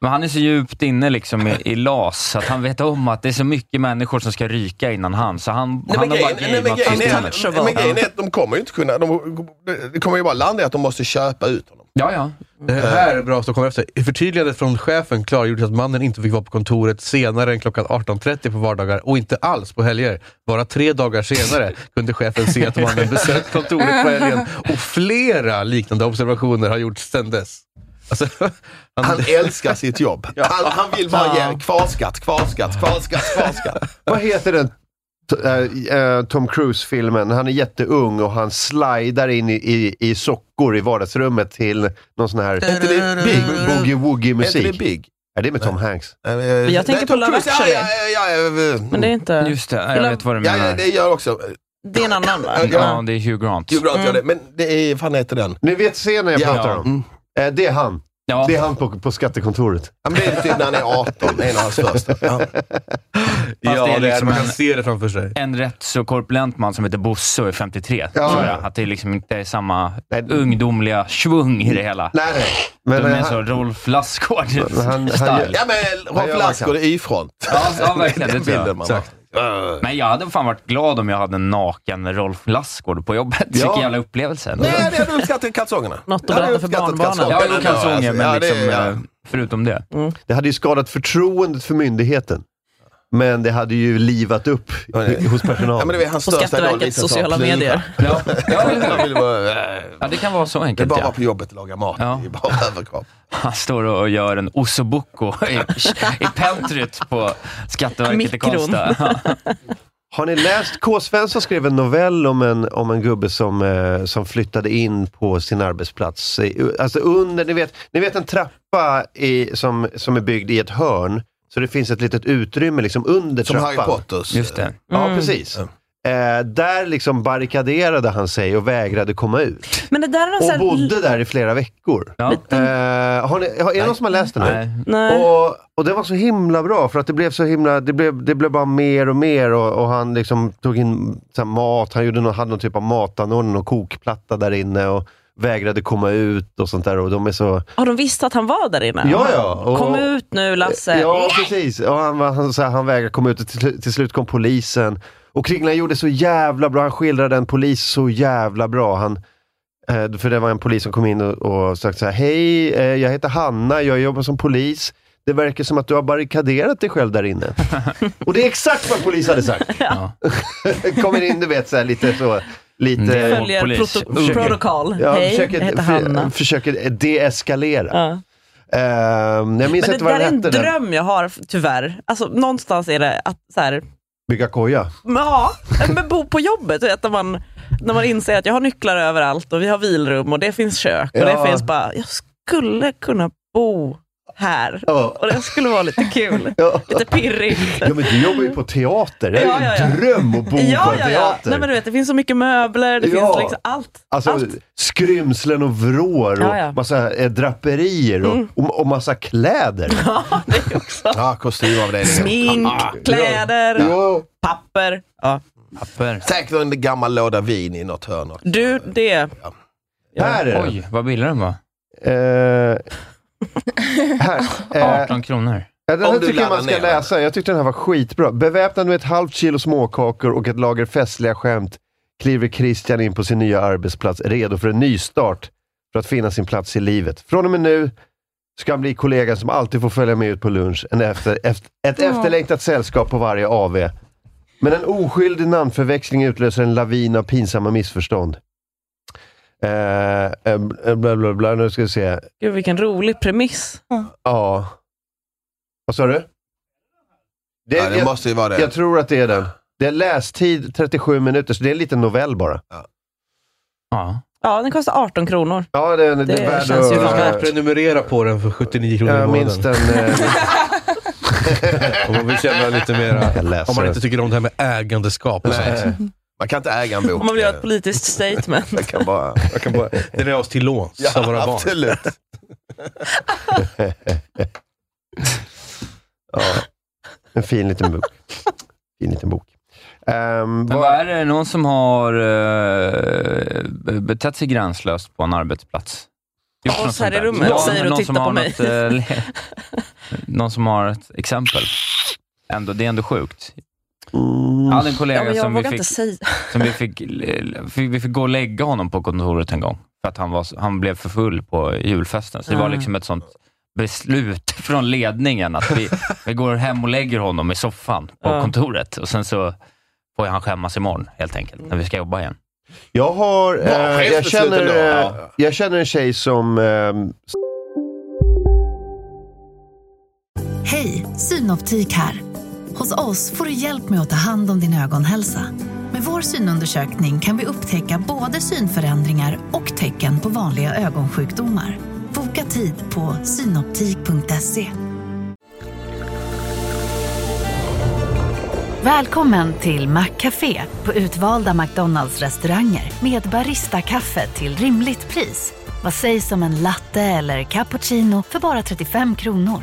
Men han är så djupt inne liksom i, i LAS, så att han vet om att det är så mycket människor som ska ryka innan han, så han, Nej, han men, har bara grejen, nej, men, gameat grejen är, systemet. att- nej, men grejen är att de kommer ju inte kunna, de, det kommer ju bara landa i att de måste köpa ut honom. Ja, ja. Det här är bra som kommer efter. I Förtydligandet från chefen klargjordes att mannen inte fick vara på kontoret senare än klockan 18.30 på vardagar och inte alls på helger. Bara tre dagar senare kunde chefen se att mannen besökt kontoret på helgen och flera liknande observationer har gjorts sedan dess. Alltså, han, Han älskar sitt jobb. Han, han vill bara ge kvarskatt, kvarskatt, kvarskatt, kvarskatt. Vad heter den t- eh, eh, Tom Cruise-filmen? Han är jätteung och han slidar in i, i, i sockor i vardagsrummet till någon sån här Heter boogie-woogie-musik. det Big? Är det är med Tom Hanks? Jag tänker på Love Actually. Men det är inte... Just det, jag vet vad du eh, Ja, menar. ja, det gör jag också. Det är en annan va? Ja, det är Hugh Grant. Hugh Grant gör det, men det är, fan heter den? Ni vet scenen jag Ja. pratar om? Mm. Eh, Det är han. Ja. Det är han på, på skattekontoret. Ja, men det är typ när han är 18, en av hans första. Ja. Fast Ja, det är det är- liksom man kan en- se det framför sig. en rätt så korpulent man som heter Bosse och är 53. Ja. Tror jag. Att det liksom inte är samma ungdomliga svung i det hela. Nej, nej. Men, Men, De är han- så Rolf Lassgård Men han- han- style. Ja, men Rolf Lassgård är Y-front. Ja, ja, verkligen. Den Det tror bilden jag. man Exakt. Men jag hade fan varit glad om jag hade en naken Rolf Lassgård på jobbet. Vilken jävla upplevelse. Nej, det hade du uppskattat kalsongerna. Något att berätta för barnbarnen. Ja, jo, alltså, kalsonger, men Ja, det är- liksom, ja. eh, förutom det. Mm. Det hade ju skadat förtroendet för myndigheten. Men det hade ju livat upp i- hos personalen. Ja, men det är hans största roll. visar sig liksom, ha plurar. Ja, ja, Han vill vara, eh, ja, det kan vara så det är enkelt. bara ja. på jobbet att laga mat. Det är bara överkropp. Han står och gör en ossobuco i, i pentryt på Skatteverket i Mikron. Karlstad. Ja. Har ni läst? K. Svensson skrev en novell om en, om en gubbe som, eh, som flyttade in på sin arbetsplats. Eh, Alltså under, ni vet, ni vet en trappa i, som, som är byggd i ett hörn, så det finns ett litet utrymme liksom under Som trappan. Harry Potters. Just det. Ja, Mm. precis. Eh, där liksom barrikaderade han sig och vägrade komma ut. Men det där är någon sån Och här- bodde där i flera veckor. Eh, har ni, har, är det någon som har läst den här? Nej. Och, och den var så himla bra för att det blev så himla, det blev, det blev bara mer och mer och, och han liksom tog in så här, mat, han gjorde någon, hade någon typ av matanordning och kokplatta där inne och vägrade komma ut och sånt där och de är så... Har de visst att han var där inne? Ja, ja, och- Kom ut nu Lasse. Ja, precis. Och han, var- han, så här, han vägrade komma ut och till, till slut kom polisen. Och Kringlan gjorde så jävla bra, han skildrade en polis så jävla bra. Han, eh, för det var en polis som kom in och, och sa så här, hej, eh, jag heter Hanna, jag jobbar som polis. Det verkar som att du har barrikaderat dig själv där inne. och det är exakt vad polisen hade sagt. Kommer in, du vet, så här, lite så. Lite, Följer proto- Försöker- protokoll. Ja, Hej, försöker, jag heter för- Hanna. Försöker deeskalera. Ehm, jag Men minns det inte vad där den är en hette. den. dröm jag har, tyvärr. Alltså, någonstans är det att så här, Bygga koja. Ja, men bo på jobbet. Vet, när, man, när man inser att jag har nycklar överallt och vi har vilrum och det finns kök och Ja. det finns bara, jag skulle kunna bo här. Och det skulle vara lite kul. Lite pirrigt. Ja, men du jobbar ju på teater. Det är ju Ja, ja, en dröm att bo på ja, en ja, teater. ja. Nej, men du vet, det finns så mycket möbler, det Ja. finns liksom allt. Alltså skrymslen och vrår och Ja, ja. massa eh, draperier och, Mm. och, och massa kläder. Ja, det också. Ja, kostymavdelningen. Smink, Ah, kläder, Ja. papper. Ja. Säkert en gammal låda vin i något hörn. också. Du, det. Här är den. Oj, vad billig den var. Eh, här. Eh, 18 kronor. ja, den här Om du tycker jag man laddar ska ner den. läsa. Jag tyckte den här var skitbra. Beväpnad med ett halvt kilo småkakor och ett lager festliga skämt kliver Christian in på sin nya arbetsplats, redo för en ny start för att finna sin plats i livet. Från och med nu ska han bli kollegan som alltid får följa med ut på lunch. En efter, efter, ett Ja. efterlängtat sällskap på varje AV. Men en oskyldig namnförväxling utlöser en lavin av pinsamma missförstånd. Eh, eh, bla, bla, bla, nu ska vi se. Gud, vilken rolig premiss. Ja. Vad sa du? Det, Ja, det jag, måste ju vara det. Jag tror att det är den. Det är lästid 37 minuter, så det är en liten novell bara. Ja. Ja, den kostar 18 kronor. Ja, det, det, Det är värd känns ju att- fan värt. Jag prenumererar på den för 79 kronor i Jag månaden. minns den. eh, Om man vill känna lite mera. Om man inte tycker om det här med ägandeskap och Nej. sånt. Man kan inte äga en bok. Om man vill göra ett politiskt statement. Jag kan bara... Jag kan bara, den är oss till låns Ja, av våra barn. absolut. ja. En fin liten bok. Fin liten bok. Ehm, Men vad är det någon som har eh, betett sig gränslöst på en arbetslats? Gjort Oss något här sånt i där? rummet Någon- säger och någon tittar som på har mig. något, eh, le- någon som har ett exempel? Ändå, det är ändå sjukt. Jag hade en Ja, kollega men jag som, vi vågar fick, inte säga. som vi fick, eh, fick, vi fick gå och lägga honom på kontoret en gång, för att han, var, så- han blev för full på julfesten. Så det var Ah. liksom ett sånt beslut från ledningen att vi, vi går hem och lägger honom i soffan på Ja. kontoret och sen så får han skämmas imorgon helt enkelt, när vi ska jobba igen. Jag har... eh, chefsbeslut jag, känner, ändå, eh, ja. jag känner en tjej som... ehm, Hej, Synoptik här. Hos oss får du hjälp med att ta hand om din ögonhälsa. Med vår synundersökning kan vi upptäcka både synförändringar och tecken på vanliga ögonsjukdomar. Boka tid på synoptik.se. Välkommen till Maccafé på utvalda McDonalds restauranger med Baristakaffe till rimligt pris. Vad sägs om en latte eller cappuccino för bara 35 kronor?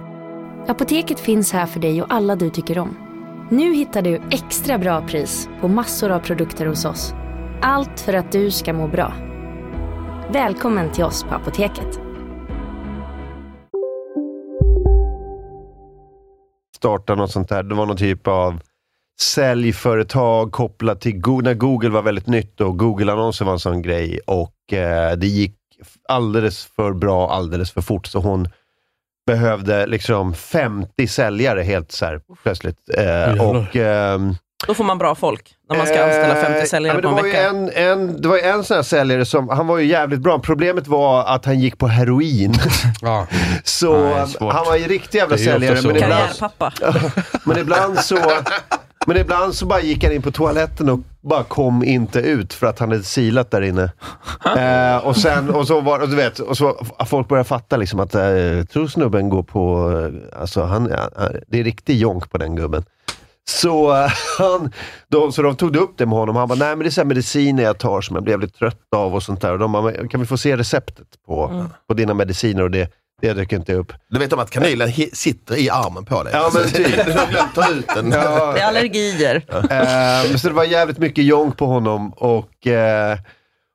Apoteket finns här för dig och alla du tycker om. Nu hittar du extra bra pris på massor av produkter hos oss. Allt för att du ska må bra. Välkommen till oss på Apoteket. starta något sånt där. Det var någon typ av säljföretag kopplat till Go- när Google var väldigt nytt och Google-annonser var en sån grej. Och eh, det gick alldeles för bra alldeles för fort, så hon behövde liksom 50 säljare helt så här, plötsligt. Eh, och, ehm, Då får man bra folk när man ska anställa 50 Eh, säljare ja, men på en det vecka. var ju En, en, det var ju en sån här säljare som, han var ju jävligt bra. Problemet var att han gick på heroin. så Nej, svårt. han var ju riktig jävla Det är ju ofta säljare. så. Men ibland, Karriärpappa. men ibland så... Men ibland så bara gick han in på toaletten och bara kom inte ut för att han hade silat där inne. Eh, och sen, och så var och du vet, och så, folk började fatta liksom att, eh, tror snubben går på, eh, alltså han, han, det är riktig jonk på den gubben. Så, eh, han, de, så de tog upp det med honom han bara, nej men det är så här mediciner jag tar som jag blev lite trött av och sånt där. Och de bara, "Men kan vi få se receptet på, Mm. på dina mediciner? Och det, det dök inte upp. Du vet om att kanylen hi- sitter i armen på dig? Ja, men typ. Du har glömt ta ut den. Ja. Det är allergier. Eh, så det var jävligt mycket jonk på honom och, eh,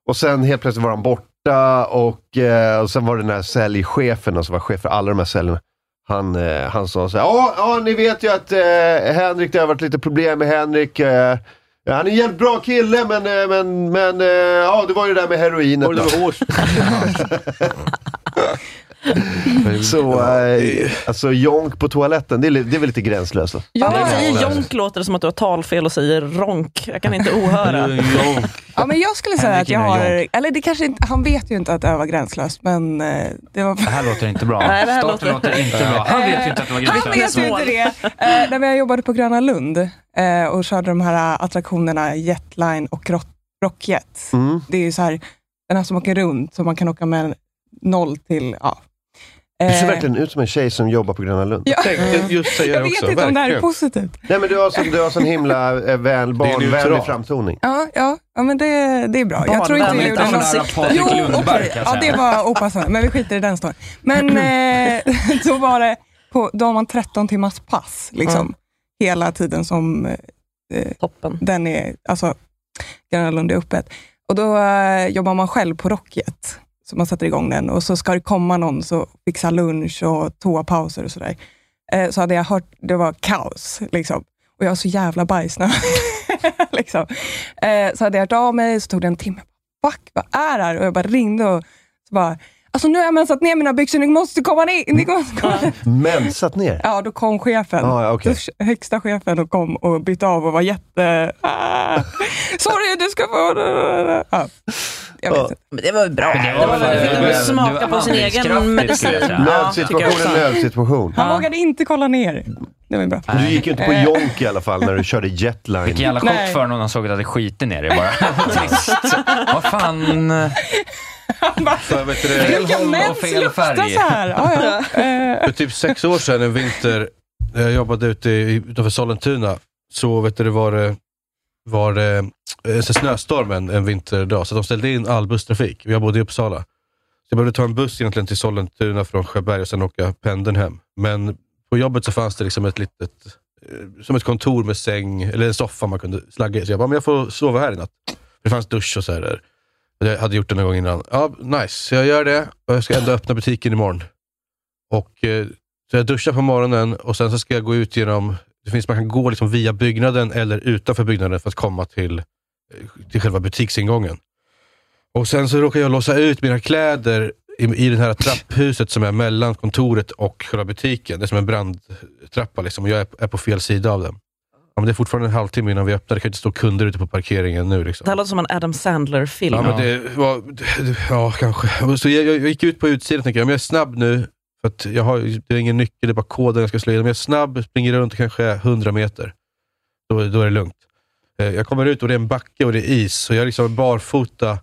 och sen helt plötsligt var han borta och, eh, och sen var det den här säljchefen, alltså var chef för alla de här säljarna. Han, eh, han sa så här, ja, ja, ni vet ju att eh, Henrik, det har varit lite problem med Henrik. Eh, han är en jävligt bra kille, men, eh, men, men eh, ja, det var ju det där med heroinet. Oj, det var hårt. så, eh, alltså jonk på toaletten, det är, li- det är väl lite gränslöst? va? Ja, när jag säger jonk låter det som att du har talfel och säger ronk. Jag kan inte ohöra. Ja, men jag skulle säga att jag har, eller det kanske inte, han vet ju inte att det här var gränslöst, men eh, det var... Det här låter inte bra. Nej, det här Staten låter- inte bra. Han vet ju inte att det var Han gränslöst. vet ju inte det. Eh, nej, men jag jobbade på Gröna Lund eh, och körde de här eh, attraktionerna Jetline och Rock- Rockjet. Det är ju så här, den här som åker runt, så man kan åka med noll till, ja. Du ser Eh, verkligen ut som en tjej som jobbar på Gröna Lund. Ja. Tänkte just säga Jag det vet också, inte om det här är verkligen. positivt. Nej, men du har sån, du har sån himla eh, väl, barnvänlig neutralt. framtoning. Ja, ja, ja, men det, det är bra. Jag tror inte jag gjorde något. Patrik Jo, Lundberg, okej. kan jag Ja, det säga. var opassande, men vi skiter i den storyn. Men eh, då var det, på, då har man 13 timmars pass liksom, Mm. hela tiden som eh, Toppen. den är, alltså Gröna Lund är öppet. Och då eh, jobbar man själv på Rocket, så man sätter igång den och så ska det komma någon så fixar lunch och toapauser och sådär. Eh, så hade jag hört, det var kaos liksom. Och jag var så jävla bajsnödig. liksom. eh, så hade jag hört av mig, så tog det en timme. Fuck, vad är det här? Och jag bara ringde och så bara, alltså nu har jag mensat ner mina byxor, ni måste komma ner. Ni måste komma ner. Mensat ner? Ja, då kom chefen. Ah, ja, okej. Då- Högsta chefen och kom och bytte av och var jätte... Ah, sorry, du ska få... Ja, jag vet inte. Men det var bra. Det var- Det var väl- det var- det Smaka var på sin egen handlingskraftigt, medicin. skulle jag Ja, tycker jag också. säga. Nödsituation är nödsituation. Han vågade inte kolla ner. Det var bra. Du gick ju inte på Eh. jonk i alla fall när du körde jetline. Vilken jävla chock Nej. för honom när han såg att det hade skitit ner dig bara. Trist. Vad fan. För, vet du, det- Vilka Elholm män och som luktar så här? Ja, ja. Eh, För typ sex år sedan en vinter, när jag jobbade ute i- utanför Sollentuna, så vet du, det var det, var det eh, så snöstorm en, en vinterdag, så de ställde in all busstrafik. Jag bodde i Uppsala. Så jag behövde ta en buss egentligen till Sollentuna från Sjöberg och sen åka pendeln hem. Men på jobbet så fanns det liksom ett litet, eh, som ett kontor med säng, eller en soffa man kunde slagga i. Så jag bara, men jag får sova här i natt. Det fanns dusch och så här där. Jag hade gjort det någon gång innan. Ja, nice. Jag gör det och jag ska ändå öppna butiken imorgon. Och, eh, så jag duschar på morgonen och sen så ska jag gå ut genom, det finns, man kan gå liksom via byggnaden eller utanför byggnaden för att komma till, eh, till själva butiksingången. Och sen så råkar jag låsa ut mina kläder i, i det här trapphuset som är mellan kontoret och själva butiken. Det är som en brandtrappa liksom, och jag är, är på fel sida av den. Ja, men det är fortfarande en halvtimme innan vi öppnar. Det kan ju inte stå kunder ute på parkeringen nu. Liksom. Det här låter som en Adam Sandler-film. Ja, men det var, det- ja, kanske. Och Så jag, jag, jag gick ut på utsidan och tänkte, om jag är snabb nu, för att jag har, ju- det är ingen nyckel, det är bara koden jag ska slå in. Om jag är snabb, springer runt kanske 100 meter, då, då är det lugnt. Eh, Jag kommer ut och det är en backe och det är is, så jag liksom barfota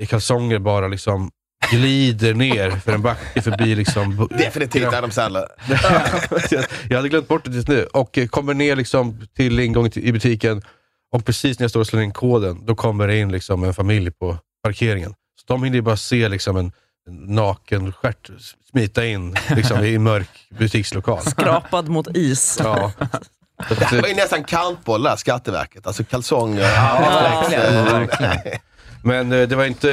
i kalsonger bara liksom glider ner för en backe förbi liksom... Definitivt Adam Sandler. jag hade glömt bort det tills nu. Och eh, kommer ner liksom till ingången till, i butiken och precis när jag står och slår in koden, då kommer det in liksom en familj på parkeringen. Så de hinner ju bara se liksom en en naken stjärt smita in liksom, i en mörk butikslokal. Skrapad mot is. Ja. typ. Det här var ju nästan kantbollar, Skatteverket. Alltså kalsonger. verkligen, verkligen. Men eh, det var inte,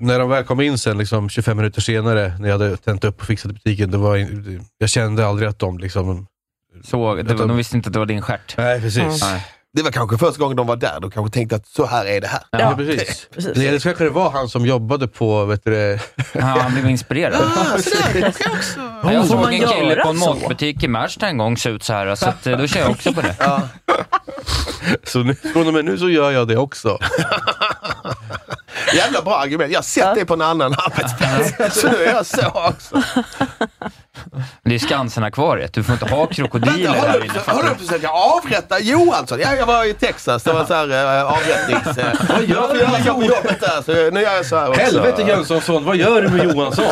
när de väl kom in sen, liksom 25 minuter senare, när jag hade tänt upp och fixat butiken, det var, in- jag kände aldrig att de liksom... Såg, det var, de visste inte att det var din stjärt. Mm. Nej, precis. Nej. Det var kanske första gången de var där. De kanske tänkte att så här är det här. Ja, precis. Nej, Eller så kanske det var han som jobbade på... Vet du, det- han blev inspirerad. Ah, så där kanske jag också... Ja, jag Får såg man en kille göra på en så? matbutik i Märsta en gång se ut så här, så att, eh, då kör jag också på det. Så nu, från och med nu så gör jag det också. Jävla bra argument. Jag har sett det på en annan arbetsplats. Så nu är jag så också. Det är Skansen-akvariet, du får inte ha krokodiler Vänta, där har, inne. du, har du försökt avrätta Johansson? Ja, jag var i Texas. Det var så här äh, avrättnings... eh, Vad gör du? jag har gjort jobbet där, så nu gör jag så här också. Helvete Jönssonsson, vad gör du med Johansson?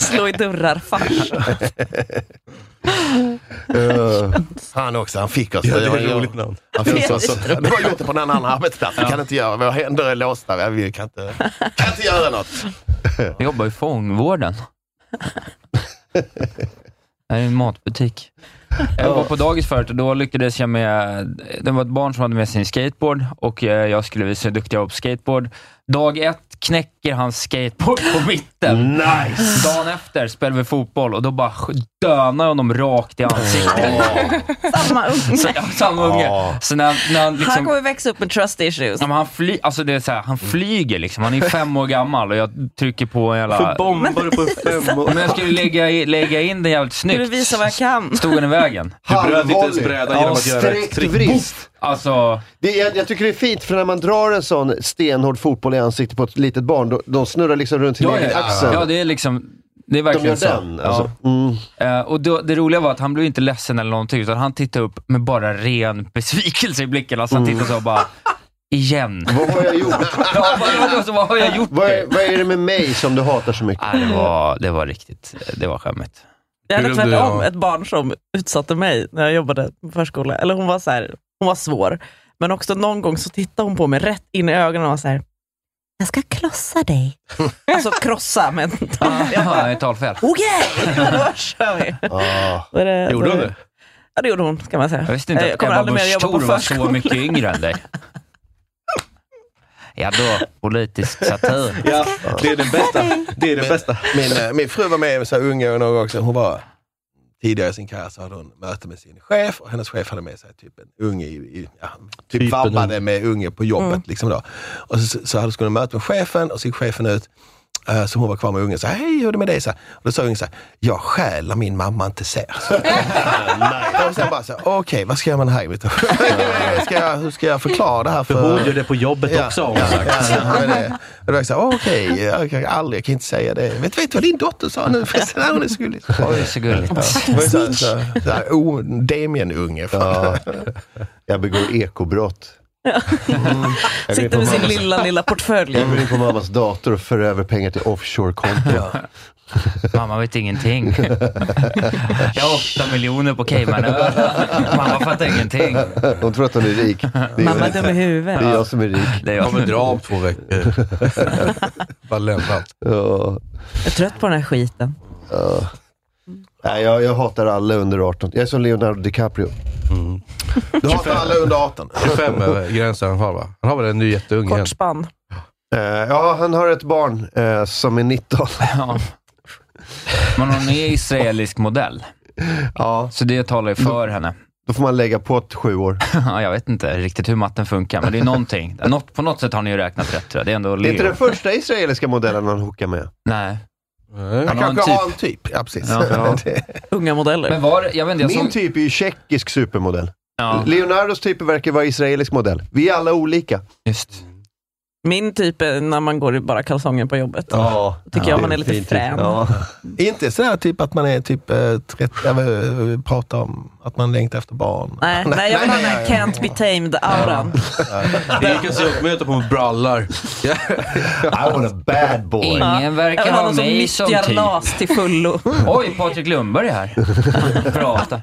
Slå i dörrar, fars. Eh, han också, han fick oss. Ja, det är var ett ju- roligt namn. Han fick Ja, oss. det är Du har gjort det på en annan arbetsplats. Vi kan inte göra, våra händer är låsta. Vi- Vi kan inte, kan inte göra något. Jag jobbar i fångvården. Det här är en matbutik. Jag var på dagis förut och då lyckades jag med... Det var ett barn som hade med sin skateboard och eh, jag skulle visa hur duktig jag var på skateboard. Dag ett knäcker hans skateboard på mitten. Nice! Dagen efter spelar vi fotboll och då bara sk- dönar jag honom rakt i ansiktet. Samma unge. Så, ja, samma unge. Så när, när han Han liksom... kommer växa upp med trust issues. Ja, men han, fly, alltså det är så här, han flyger liksom. Han är ju fem år gammal och jag trycker på en jävla... Varför bombar du på en femåring? Men jag skulle lägga, i- lägga in den jävligt snyggt. Skulle visa vad jag kan. Stod han i vägen? Du bröt inte ens brädan genom att göra ett sträckt trick. vrist. Alltså... Det, jag, jag tycker det är fint, för när man drar en sån stenhård fotboll i ansiktet på ett litet barn, då, de snurrar liksom runt sin Ja, egen ja, axel. ja. ja, det är liksom... Det är verkligen De gör så. den, alltså. Ja. Eh, och då, det roliga var att han blev inte ledsen eller någonting, utan han tittade upp med bara ren besvikelse i blicken. Alltså han tittade så och bara, igen. Mm. Vad har jag gjort? ja, vad, vad, vad har jag gjort? Vad är, vad är det med mig som du hatar så mycket? Nej, det, var, det var riktigt, det var skämmigt. Jag hade Hur är det tvärtom då? ett barn som utsatte mig när jag jobbade på förskola. Eller hon var så här, hon var svår. Men också någon gång så tittade hon på mig rätt in i ögonen och var så här, jag ska krossa dig. alltså krossa, men jag bara, Ja, ett talfel. okej, då kör vi. Ah. Då är det- då är det- Ja, det gjorde hon kan man säga. Jag visste inte att kommer Ebba aldrig mer Busch jobba på Thor var så förskola. mycket yngre än dig. Ja då, politisk satir. Ja, det är den bästa. Det är det bästa. Min, eh, min fru var med i en så här unga och någon gång sedan. Hon var tidigare i sin karriär så hade hon möte med sin chef och hennes chef hade med sig typ en unge, i, i, ja, typ Typen vabbade med unge på jobbet. Mm. Liksom då. Och så, så hade skulle hon möte med chefen och så gick chefen ut, eh, så hon var kvar med ungen, så här, hej hur är det med dig? Så här, och då sa ungen så här, jag stjäl när min mamma inte ser. Så. och sen bara så här, okej vad ska jag med den här i mitt ska jag, Hur ska jag förklara det här? För, För hon gör det på jobbet Ja, också, har hon ja, sagt. ja, ja, men det- och då var jag så här, okej, jag kan aldrig, jag kan inte säga det. Vet vet du vad din dotter sa nu förresten? Nej, Hon är så gullig. Oj, så gulligt. Det var ju så här- så här- så här, o- Damien-unge. Ja. oh, Jag begår ekobrott. Mm. Jag går in på Sitter med sin mammas- lilla, lilla portfölj. Jag går in på mammas dator och för över pengar till offshore-konto. Mamma vet ingenting. Jag har åtta miljoner på Caymanöarna. Mamma fattar ingenting. Hon tror att hon är rik. Det är jag Mamma är inte. dum i huvudet. Det är jag som är rik. Det är jag. Kommer dra om två veckor. Bara lämna allt. Ja. Jag är trött på den här skiten. Ja. Nej, jag, jag hatar alla under 18. Jag är som Leonardo DiCaprio. Mm. Du hatar alla under 18. 25 är gränsen han har va? Han har väl en ny jätteung igen? Kortspann. Eh, ja, han har ett barn eh, som är 19. Ja. Men hon är israelisk modell. Ja. Så det talar ju för henne. Då får man lägga på ett sju år. Ja, jag vet inte riktigt hur matten funkar, men det är någonting. Något, på något sätt har ni ju räknat rätt tror jag. Det är ändå Det är inte Leo. den första israeliska modellen han hookar med. Nej. Han Han har en kanske har en typ. typ. Ja, precis. Ja, ja. Unga modeller. Men var, jag vet inte, jag såg... Min typ är ju tjeckisk supermodell. Leonardos typ verkar vara israelisk modell. Vi är alla olika. Just. Min typ är när man går i bara kalsonger på jobbet. Ja, Då tycker ja, jag man är en lite fin typ. frän. Ja. Inte sådär typ att man är typ eh, 30, jag vill prata eh, om att man längtar efter barn. Nej, nej, jag vill ha den här can't be tamed-auran. Det gick ett gruppmöte på brallar. I want a bad boy. Ingen verkar Eller ha någon som mig som nyttjar typ. LAS till fullo. Oj, Patrik Lundberg är här. Prata.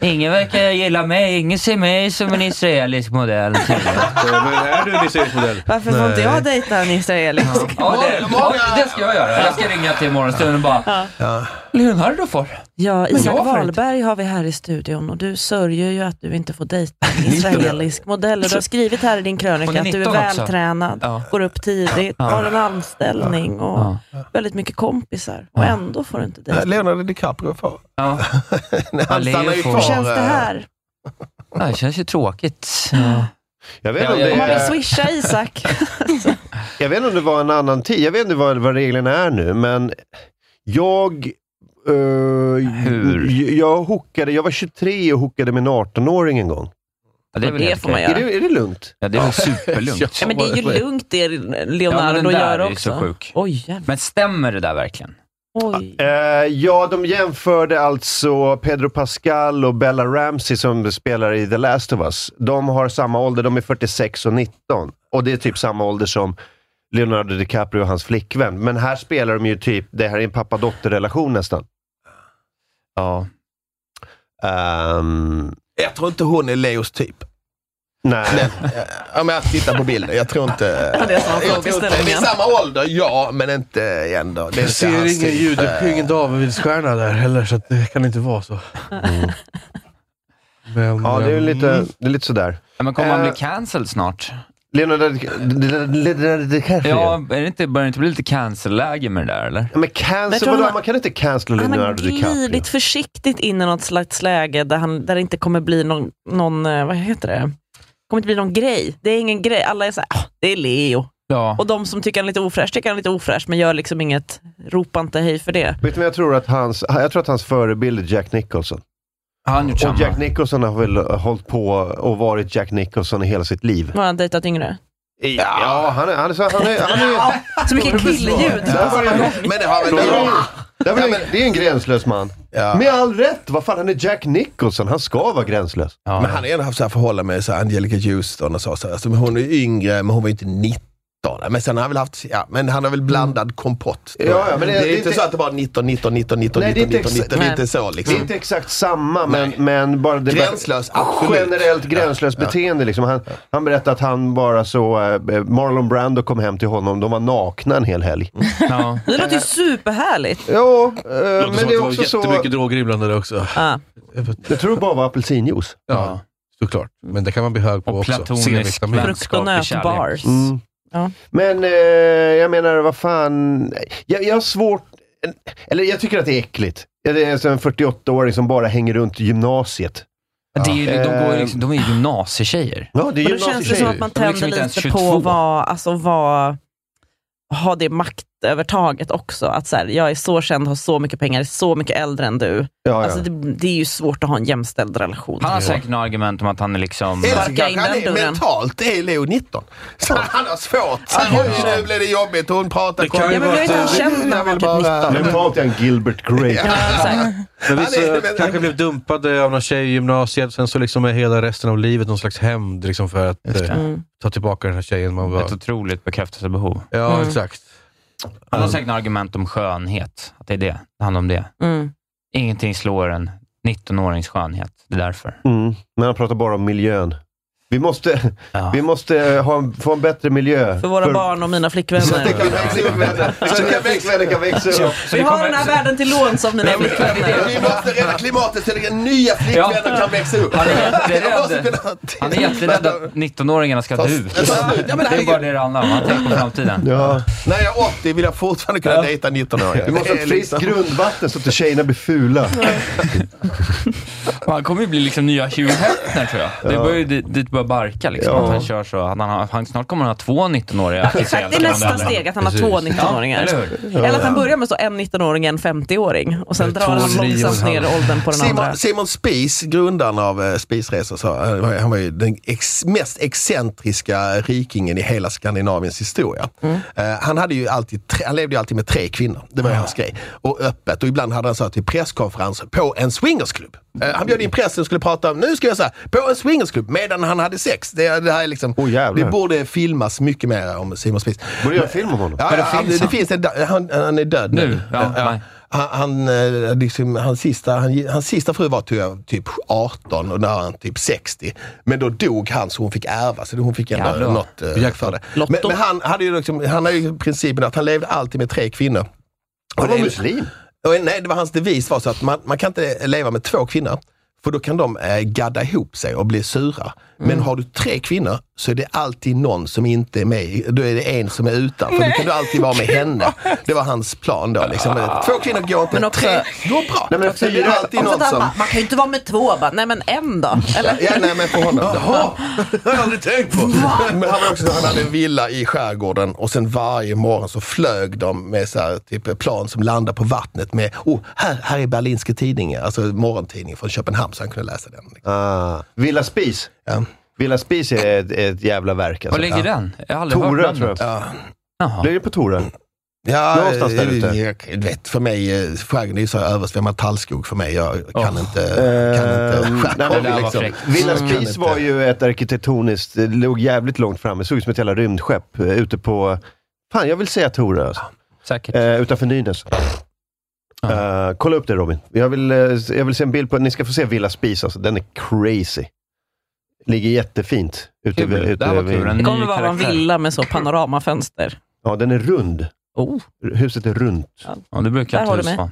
Ingen verkar gilla mig. Ingen ser mig som en israelisk modell. Men är du en israelisk modell? Varför får inte jag dejta en israelisk? Ja, det, oj, det ska jag göra. Jag ska ringa till imorgonstunden och bara... Leonardo får. Ja, Men Isak jag får Wahlberg har vi här i studion och du sörjer ju att du inte får dejta en israelisk modell. Och Du har skrivit här i din Hon krönika är att du är 19 också. vältränad, Ja. går upp tidigt, Ja. har en anställning och väldigt mycket kompisar. Och ändå får du inte dejta. Leonardo DiCaprio får. Ja. Nej, han Leo stannar ju får. kvar. Känns det här? Ja, det känns ju tråkigt. Ja. Jag vet, Ja, om ja, det, Om man vill är- swisha Isak. jag vet inte om det var en annan tid. Jag vet inte vad, vad reglerna är nu, men jag... eh, Jag, jag, hookade, jag var 23 och hookade med en 18-åring en gång. Ja, det är väl Det helt får man okej. är, göra. det, är det lugnt? Ja, det är väl superlugnt. Ja, men det är ju lugnt det Ja, men Leonardo den där är gör ju också. så sjuk. Oj, jävlar. Men stämmer det där verkligen? Mm. Oj. Eh, ja, de jämförde alltså Pedro Pascal och Bella Ramsey som spelar i The Last of Us. De har samma ålder, de är 46 och 19. Och det är typ samma ålder som Leonardo DiCaprio och hans flickvän. Men här spelar de ju typ, det här är en pappa-dotter-relation nästan. Ja. Ehm, Jag tror inte hon är Leos typ. nej. Eh, Ja, men att titta på bilden, jag tror inte... det är samma jag tror inte- frågeställning. det är samma ålder, ja, men inte ändå. Det är Jag inte ser hans ingen typ. ljud, det är ingen Davidsstjärna där heller, så att det kan inte vara så. Men, Ja, det är, Mm. lite, det är lite sådär. Ja, men kommer han Eh, bli cancelled snart? Leonardo DiCaprio. Leonardo DiCaprio. Ja, är det inte, börjar det inte bli lite cancel-läge med det där eller? E. Ja, Men Men jag cancel, tror vadå? han- Man kan inte cancella Han har Leonardo DiCaprio. glidit försiktigt in i något slags läge där, han, där det inte kommer bli någon, någon eh, vad heter det? kommer inte bli någon grej. Det är ingen grej. Alla är såhär, ah, det är Leo. Ja. Och de som tycker han är lite ofräsch tycker han är lite ofräsch, men gör liksom inget, ropa inte hej för det. Vet du vad jag tror att hans, jag tror att hans förebild är Jack Nicholson. Han gjort Och samma. Jack Nicholson har väl hållit på och varit Jack Nicholson i hela sitt liv. Har han dejtat yngre? Ja, han är... Han är, så- han är, han är Så mycket killljud. Men det har väl... det, är väl en, det är en gränslös man. Ja. Med all rätt! Vad fan, han är Jack Nicholson. Han ska vara gränslös. Men han har ju ändå haft så här förhållande med så här Angelica Houston och så. så här. Alltså, men hon är ju yngre, men hon var ju inte 19. Men sen har han väl haft, ja, men han har väl blandad kompott. Ja, ja, men det- det, det är är inte inte- så att det bara 19, 19, 19, 19, Nej, det är 19, inte 19, 19, exakt- det är inte Nej. så Det är liksom. inte exakt samma, men, men bara... Det Gränslös, absolut. Generellt gränslöst Ja, ja. beteende. Liksom. Han, han berättade att han bara så... eh, Marlon Brando kom hem till honom. De var nakna en hel helg. Ja. Det låter ju superhärligt. Jo, eh, Det låter men som det att är det var också så... jättemycket droger inblandade också. Ah. Jag tror det bara var apelsinjuice. Ja, såklart. Men det kan man bli hög på Och också. platonisk C-vitamin. vän. Frukt och nötbars. Mm. Ja. Men eh, jag menar, vad fan. Jag, jag har svårt... Eller jag tycker att det är äckligt. Ja, Det är alltså en 48-åring som bara hänger runt gymnasiet. Det är, ju- de, går ju Eh. liksom, de är ju gymnasietjejer. Ja, det är Men då känns det som att gymnasietjejer. man De är liksom tänder inte ens lite på 22. vad, alltså vad, ha det maktövertaget också. Att så här, jag är så känd, har så mycket pengar, är så mycket äldre än du. Ja, Alltså ja. det, det är ju svårt att ha en jämställd relation. Han har säkert några argument om att han är liksom... Eller så Sparka kanske in han den är, dörren. mentalt är Leo 19. Så han har svårt. Han har ju- nu blir det jobbigt, hon pratar Det kan ju Ja, men blev inte han vara- eh, känd när han var typ 19? Men ta till en Gilbert Grape. Ja, exakt. Men Han är- vissa men- kanske blev dumpade av någon tjej i gymnasiet, sen så liksom är hela resten av livet någon slags hämnd liksom för att Just det. eh, ta tillbaka den här tjejen man var. Ett otroligt bekräftelsebehov. Ja, Mm. exakt. Han har säkert några argument om skönhet. Att det är det. Det handlar om det. Mm. Ingenting slår en 19-årings skönhet. Det är därför. Mm. Men han pratar bara om miljön. Vi måste, Ja. vi måste ha en, få en bättre miljö. För våra barn och mina Så att det flickvänner. kan växa upp. Så att mina flickvänner kan växa upp. Vi har den här världen till låns av mina flickvänner. Vi måste rädda klimatet så att nya flickvänner Ja. kan växa upp. Han är De måste jätterädd. kunna- Han är jätterädd att 19-åringarna ska dö Fast- ut. Ja, men Det är herregud. bara det det handlar om. Han tänker på framtiden. Ja. När jag är 80 vill jag fortfarande kunna dejta 19-åringar. Vi måste ha Det är ett friskt liksom- grundvatten så att inte tjejerna blir fula. Han kommer ju bli liksom nya Hugh Hefner tror jag. Det börjar ju dit, dit börjar barka liksom. Ja. Att han kör så. Att han, har- han, snart kommer han ha två 19-åriga Exakt, det är nästa steg, att han har två 19-åringar. Eller att han börjar med så en 19-åring, en 50-åring och sen drar han långsamt ner åldern på den Simon, andra. Simon Spies, grundaren av eh, Spisresor, sa, han var- han var ju den ex, mest excentriska rikingen i hela Skandinaviens historia. Mm. Eh, han, hade ju alltid tre, han levde ju alltid med tre kvinnor, det var ju hans grej. Och öppet, och ibland hade han så här till presskonferenser på en swingersklubb. Eh, han bjöd in pressen och skulle prata om, nu ska jag säga, på en swingersklubb medan han hade sex. Det, det här är liksom, det borde filmas mycket mer om Simon Spies. Borde göra film om honom? Ja, Eller ja, finns det, det han? finns en, han, han är död nu. Ja, Ja. Han, han, eh, liksom, hans, sista, han, hans sista fru var ty- typ 18 och nu är han typ 60. Men då dog han så hon fick ärva, så hon fick ändå Jävlar. något eh, för det. Men, men han hade ju liksom, han hade ju principen att han levde alltid med tre kvinnor. Han var muslim? Och, nej, det var hans devis var så att man, man kan inte leva med två kvinnor, för då kan de eh, gadda ihop sig och bli sura. Men har du tre kvinnor så är det alltid någon som inte är med. i- Då är det en som är utanför. Då kan du alltid vara med henne. Det var hans plan då. Liksom. Två kvinnor går inte, Men också- tre går bra. Nej, Det är alltid någon man, som... man kan ju inte vara med två, bara, nej men en då? Eller? Ja, nej men på honom. Jaha, det har jag aldrig tänkt på. Men han, var också, han hade en villa i skärgården och sen varje morgon så flög de med så här, typ, plan som landade på vattnet med, oh, här, här är Berlinske tidningen, alltså morgontidningen från Köpenhamn, så han kunde läsa den. Ah, Villa Spis. Villa Spis är ett, ett jävla verk. Alltså. Var ligger den? Jag har aldrig hört Torö, namnet. tror jag. Ja. Ligger det på Torö? Ja, Någonstans där eh, ute. Jag, jag vet, för mig, eh, skärgården är ju så här översvämmad tallskog för mig. Jag kan inte, eh, kan inte Ehm, Mm. nej, skärgården. men liksom, Villa Spis var ju ett arkitektoniskt, det låg jävligt långt framme, såg ut som ett jävla rymdskepp eh, ute på, fan jag vill säga Torö alltså. Säkert. Eh, utanför Nynäs. Eh, kolla upp det Robin. Jag vill, eh, jag vill se en bild på, ni ska få se Villa Spis alltså, den är crazy. Ligger jättefint. Ute, Kul. Det här var kul. Det kommer vara en villa med så panoramafönster. Ja, den är rund. Huset är runt. Ja, det brukar Där ett har du hus mig. vara.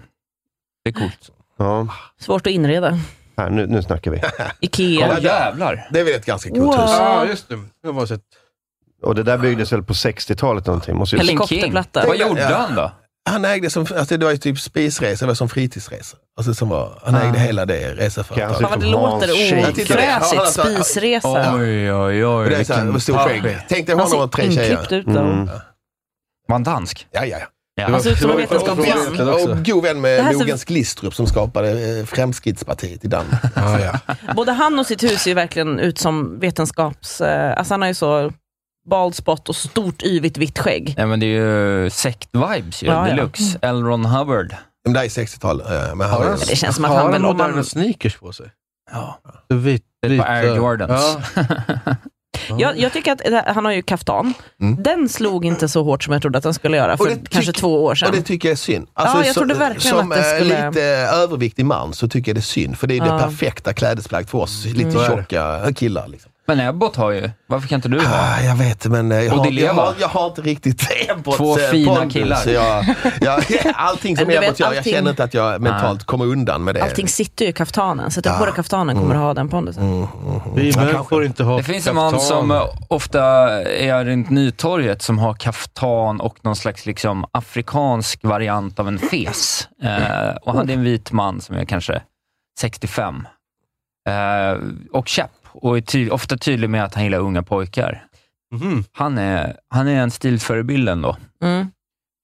Det är coolt. Ja, Svårt att inreda. här, nu, nu snackar vi. Ikea. Åh, jävlar. Det är väl ett ganska coolt Wow. hus. Ja, just det. Jag har sett. Och det där byggdes väl på 60-talet någonting? Måste ju- Han ägde som, alltså det var ju typ spisresa, det var som fritidsresa. Alltså som var, han ägde hela det reseföretaget. Fan, vad det låter Jag tittar- ja, alltså- han har så- Ja. Oj, oj, oj. Och det är så här, vilken med stor pappig. skägg. Tänk dig Alltså, Alltså, honom och tre tjejer. Mm. Mm. Var han dansk? Ja, ja, ja. Han Alltså, ser ut som en vetenskapsman. Och god vän Det här med ser- Mogens Glistrup som skapade eh, Fremskrittspartiet i Danmark. Ja, ja. Både han och sitt hus ser ju verkligen ut som vetenskaps... eh, Alltså han har ju så bald spot och stort yvigt vitt skägg. Nej, men det är ju sekt-vibes ju, Ja, ja. deluxe. L. Ron Hubbard. Men det är 60-tal. Men har Det känns som att han väl... om man- sneakers på sig? Ja. Vit, Det är ett par Air Jordans. Jag, jag tycker att det- han har ju kaftan. Den slog inte så hårt som jag trodde att den skulle göra för Mm. Och det tyck- kanske två år sedan. Och det tycker jag är synd. Alltså, ja, jag så- trodde verkligen som att det eh, skulle... lite överviktig man så tycker jag det är synd. För det är Ja. det perfekta klädesplagg för oss lite Mm. Så är det. tjocka killar. Liksom. Men Ebbot har ju, varför kan inte du ha? Ah, jag vet, men eh, jag Och har, Di Leva. jag, har, jag har inte riktigt Ebbots Två eh, fina pondus, killar. Så jag, jag, allting som Men du Ebbot vet, gör, allting- jag känner inte att jag mentalt kommer undan med det. Mm. Allting sitter ju i kaftanen, så att jag på dig kaftanen kommer att ha den pondusen. Vi Ja, män kanske. får inte ha Mm. Det finns en man som eh, ofta är runt Nytorget som har kaftan och någon slags liksom afrikansk variant av en fes. Eh, och han är en vit man som är kanske 65. Eh, och käpp och är ty- ofta tydlig med att han gillar unga pojkar. Mhm. Han, är, han är en stilförebild ändå, kan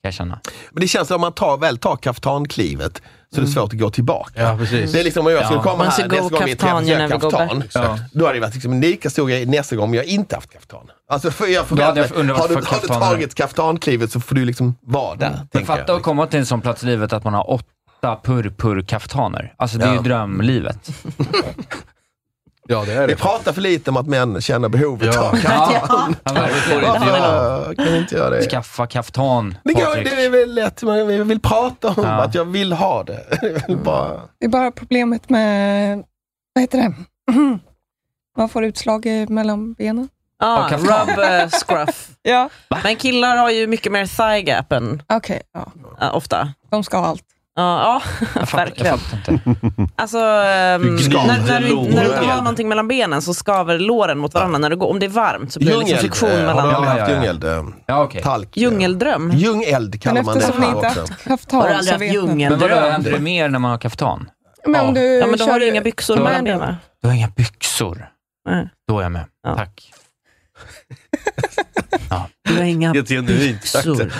jag känna. Men det känns som om man tar, väl tar kaftanklivet så det är svårt att gå tillbaka. Ja, precis. Det är liksom om jag skulle Mm. Ja. komma Once här you go nästa gång vi kaftan, träffas you jag never go kaftan. back. Ja. Då hade det varit liksom en lika stor grej nästa gång om jag inte haft kaftan. Alltså för jag Då hade jag förväntar mig, undrat har, du, varför har du kaftan är- Mm. tagit kaftanklivet så får du liksom vara där. Men tänker fatta att komma till en sån plats i livet att man har åtta purpurkaftaner. Alltså det är ju Ja. drömlivet. ja, det är Vi pratar för lite om att män känner behovet av kaftan. Varför kan vi inte göra det? Skaffa kaftan, Det, går, Patrik. det är väl lätt, men vi vill prata om att jag vill ha det. Det är väl bara... Det är bara problemet med, vad heter det? Man får utslag i- mellan benen. Ja, Och kaftan. rub eh, scruff. ja. Men killar har ju mycket mer thigh gap än Okej, ja. ja, ofta. De ska ha allt. Ja, ja verkligen. Alltså, ehm, Du gnider när, när, du, när du inte har låren. någonting mellan benen så skaver låren mot varandra. När du går, om det är varmt så blir det liksom Djungeld, friktion eh, har mellan... du aldrig haft djungeld? eh, Ja, okej. Talk. Djungeldröm. Djungeld kallar man det eftersom ni här inte också. haft- Har du aldrig haft djungel? Men vadå, händer det mer när man har kaftan? Men om du Ja, men då har kör- du inga byxor Då- mellan benen. Du har inga byxor. Då är jag med. Tack. Du har inga Ett genuint byxor.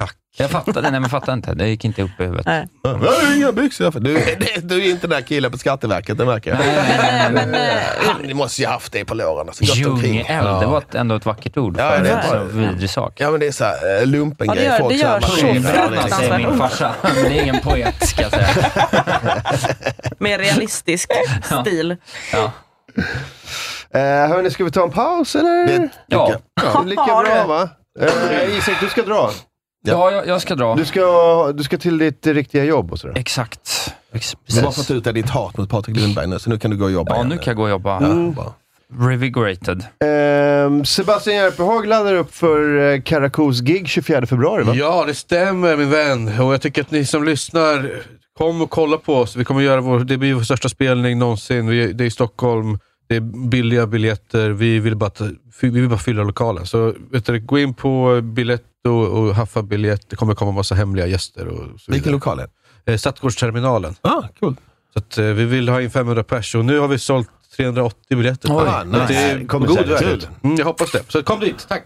tack. Jag fattade, nej men fattade inte. Det gick inte upp i huvudet. Nej. Jag har inga byxor. för Du, du är inte den där killen på Skatteverket, det märker jag. Han eh, måste ju ha haft det på låren. Alltså, gått omkring. Djungeld, eh, det var ett, ändå ett vackert ord för Ja, det en är så bra. vidrig sak. Ja, men det är så här, eh, lumpen Ja, det grej. gör- Folk det så här gör så marscherar, det är fruktansvärt liksom- ont. Min farsa, men det är ingen poet, ska jag säga. Mer realistisk stil. Eh, hörni, ska vi ta en paus eller? ja. ja. Lika Ja, bra du. va? Eh, Isak, du ska dra. Ja, jag, jag ska dra. Du ska, du ska till ditt eh, riktiga jobb och sådär. Exakt. Du har fått ut ditt hat mot Patrik Lundberg nu, så nu kan du gå och jobba Ja, igen. nu kan jag gå och jobba. Mm. Revigorated. Ehm, Sebastian Järpehag laddar upp för eh, Caracos gig 24 februari va? Ja, det stämmer min vän. Och jag tycker att ni som lyssnar, kom och kolla på oss. Vi kommer göra vår, det blir vår största spelning någonsin. Vi, det är i Stockholm, det är billiga biljetter. Vi vill bara, att- vi vill bara fylla lokalen. Så vet du, gå in på Biletto och haffa biljett. Det kommer komma massa hemliga gäster och så vidare. Vilken lokal är det? Stadgårdsterminalen. Ah, cool. Så att, eh, vi vill ha in 500 pers och nu har vi sålt 380 biljetter. Oj, Så att det nice. är Kommer god säljas värld. ut. Mm, jag hoppas det. Så kom dit, tack!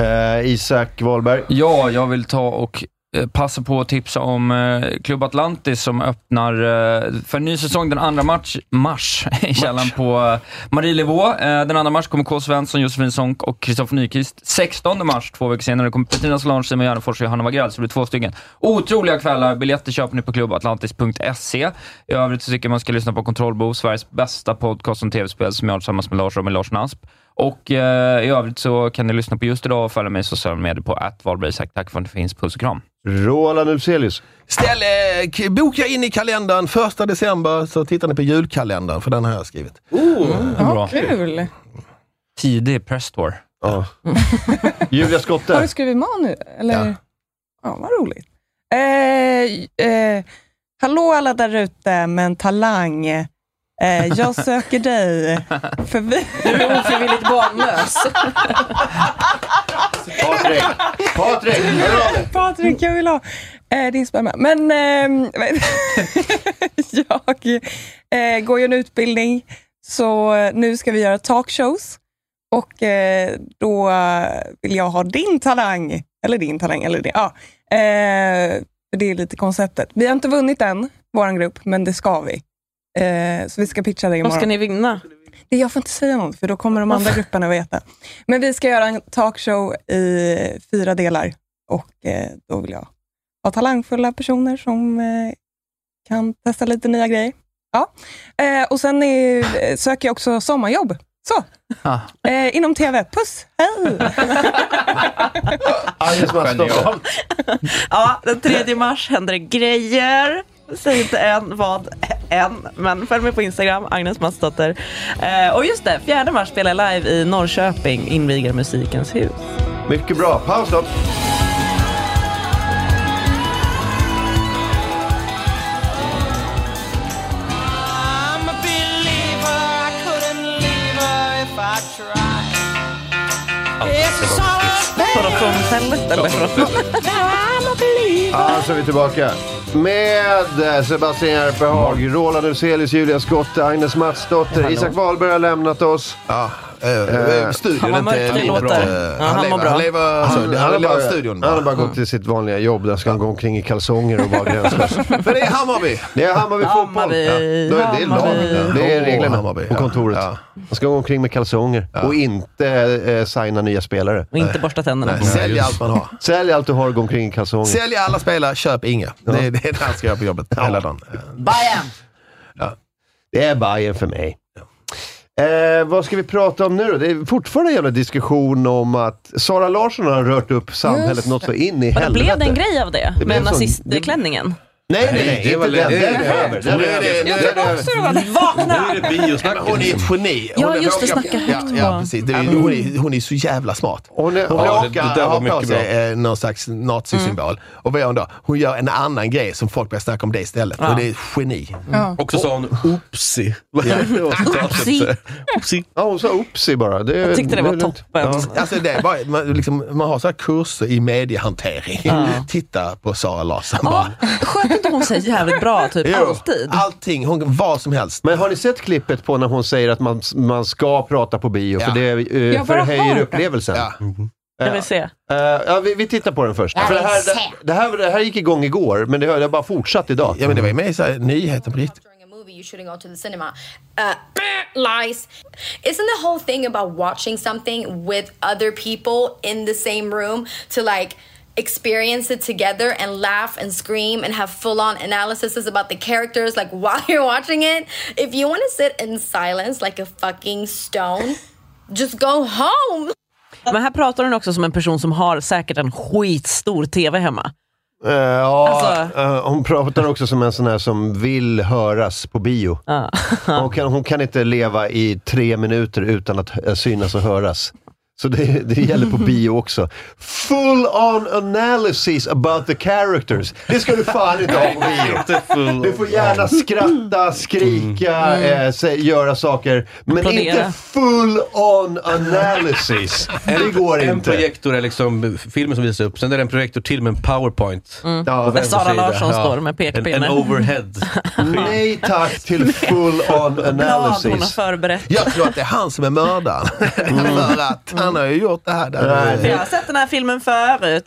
Eh, Isak Wahlberg. Ja, jag vill ta och eh, passa på att tipsa om eh, Klubb Atlantis som öppnar eh, för en ny säsong den 2 mars, mars i källaren på eh, Marielevå. Eh, Den 2 mars kommer K. Svensson, Josefin Sonck och Kristoffer Nyqvist. 16 mars, två veckor senare, kommer Petrina Solange, Simon Gärdenfors och Johanna Wagrell, så det blir två stycken. Otroliga kvällar. Biljetter köper ni på klubbatlantis.se. I övrigt så tycker jag man ska lyssna på Kontrollbo, Sveriges bästa podcast om tv-spel som jag har tillsammans med Lars Robin Larsson Asp. Och eh, i övrigt så kan ni lyssna på just idag och följa mig i sociala medier på attvalbergisak. Tack för att ni finns. Puss och kram. Roland Ulfzelius. Ställ, eh, k- boka in i kalendern. Första december så tittar ni på julkalendern, för den har jag skrivit. Oh, bra. ja, kul! Tidig pressstore. Ja. Julia Skotte. Har du skrivit manus? Eller? Ja. vad roligt. Eh, eh, hallå alla där ute med en talang. Eh, jag söker dig. För vi... Du är ofrivilligt barnlös. Patrik! Patrik! hör av dig. Patrik, jag vill ha eh, din sperma. Men ehm, jag eh, går ju en utbildning, så eh, nu ska vi göra talkshows. Och eh, då vill jag ha din talang, eller din talang, eller det. Ja, eh, för det är lite konceptet. Vi har inte vunnit än, vår grupp, men det ska vi. Eh, så vi ska pitcha det imorgon. Vad ska ni vinna? Det, jag får inte säga något, för då kommer de andra grupperna veta. Men vi ska göra en talkshow i fyra delar och eh, då vill jag ha talangfulla personer som eh, kan testa lite nya grejer. Ja. Eh, och sen är, eh, söker jag också sommarjobb. Så, Ah. eh, inom TV. Puss, hej! Agnes Maston. Ja, den 3 mars händer det grejer. Säg inte än vad än, men följ mig på Instagram, Agnes Matsdotter. Eh, och just det, 4 mars spelar jag live i Norrköping, inviger Musikens hus. Mycket bra. Paus då. I'm a believer, I couldn't leave her if I tried. It's a solid Now I'm a believer. Ja, så är vi tillbaka. Med eh, Sebastian Järpehag, Roland Ulfzelius, Julia Skotte, Agnes Matsdotter, Isak Wahlberg har lämnat oss. Ja, eh, studion Han var inte mörk, det livet, låter. eh, Ja, han han mår lever- bra. han lever- så, han har lever bara- i studion bara. Han har bara gått till sitt vanliga jobb. Där ska han gå omkring i kalsonger och vara gränslös. Men det är Hammarby! Det är Hammarby fotboll. Hammarby, Ja. Då är det lag. Hammarby. Det är Åh, reglerna Hammarby, på ja. kontoret. Man ska gå omkring med kalsonger och inte eh, signa nya spelare. Och inte borsta tänderna. Nej, sälj allt man har. Sälj allt du har och gå omkring i kalsonger. Sälj alla spelare, köp inga. Det, är- det är det han ska göra på jobbet hela dagen. Bayern! Ja. Det är Bayern för mig. Eh, vad ska vi prata om nu då? Det är fortfarande en jävla diskussion om att Sara Larsson har rört upp samhället Just något så det. in i Men det helvete. blev det en grej av det? Det blev med en sån- nazistklänningen? Nej, nej, nej. Det var den. Den är över. Den är över. Den är över. Vakna! Men Hon är ett geni. Ja, Hon är- just det, ja, snacka ja, högt bara. ja, precis. Det är, hon, är, hon är så jävla smart. Hon, är, hon Ja, råkar det- det där var ha på mycket bra. sig eh, någon slags nazisymbol. Och vad gör hon då? Hon gör en annan grej som folk börjar snacka om det istället. Ja. Och det är geni. Ja. Också sa hon oopsie. Vad är det? Oopsie. Oopsie. Ja, hon sa oopsie bara. Det, Jag tyckte det var är lugnt. Eh, Ja. Alltså det är bara, man, liksom, man har så här kurser i mediehantering. Titta på Sara Larsson. bara. Sköt inte inte hon säger jävligt bra typ Jo. alltid? Allting, hon, vad som helst. Men har ni sett klippet på när hon säger att man, man ska prata på bio för det Jag eh, bara förhöjer hört det. upplevelsen? Mm-hmm. Eh, Ja. Jag vill se. ja, vi, vi tittar på den först. Jag För det, vill här, se. det, det, här, det här gick igång igår, men det har det har bara fortsatt idag. Ja, men det var ju med i så här nyheter på riktigt. movie, you shouldn't go to the cinema. Uh, lies. Isn't the whole thing about watching something with other people in the same room to like experience it together and laugh and scream and have full on analysis about the characters like while you're watching it? If you want to sit in silence like a fucking stone, just go home. Men här pratar hon också som en person som har säkert en skitstor tv hemma. Eh, ja, Alltså- eh, hon pratar också som en sån här som vill höras på bio. hon, kan, hon kan inte leva i tre minuter utan att eh, synas och höras. Så det, det gäller på bio också. Full on analysis about the characters. Det ska du fan inte ha på bio. Du får gärna skratta, skrika, eh, sä- göra saker. Men Applådera. inte full on analysis. Det går en inte. projektor är liksom filmen som visas upp, sen är det en projektor till med en powerpoint. Mm. På Där vänster Sara sida. Larsson står med En, pekpinne. en overhead. Nej tack till full on Blad hon har analysis. förberett. Jag tror att det är han som är mördaren. Mm. För att han har ju gjort det här. Där. För Jag har sett den här filmen förut.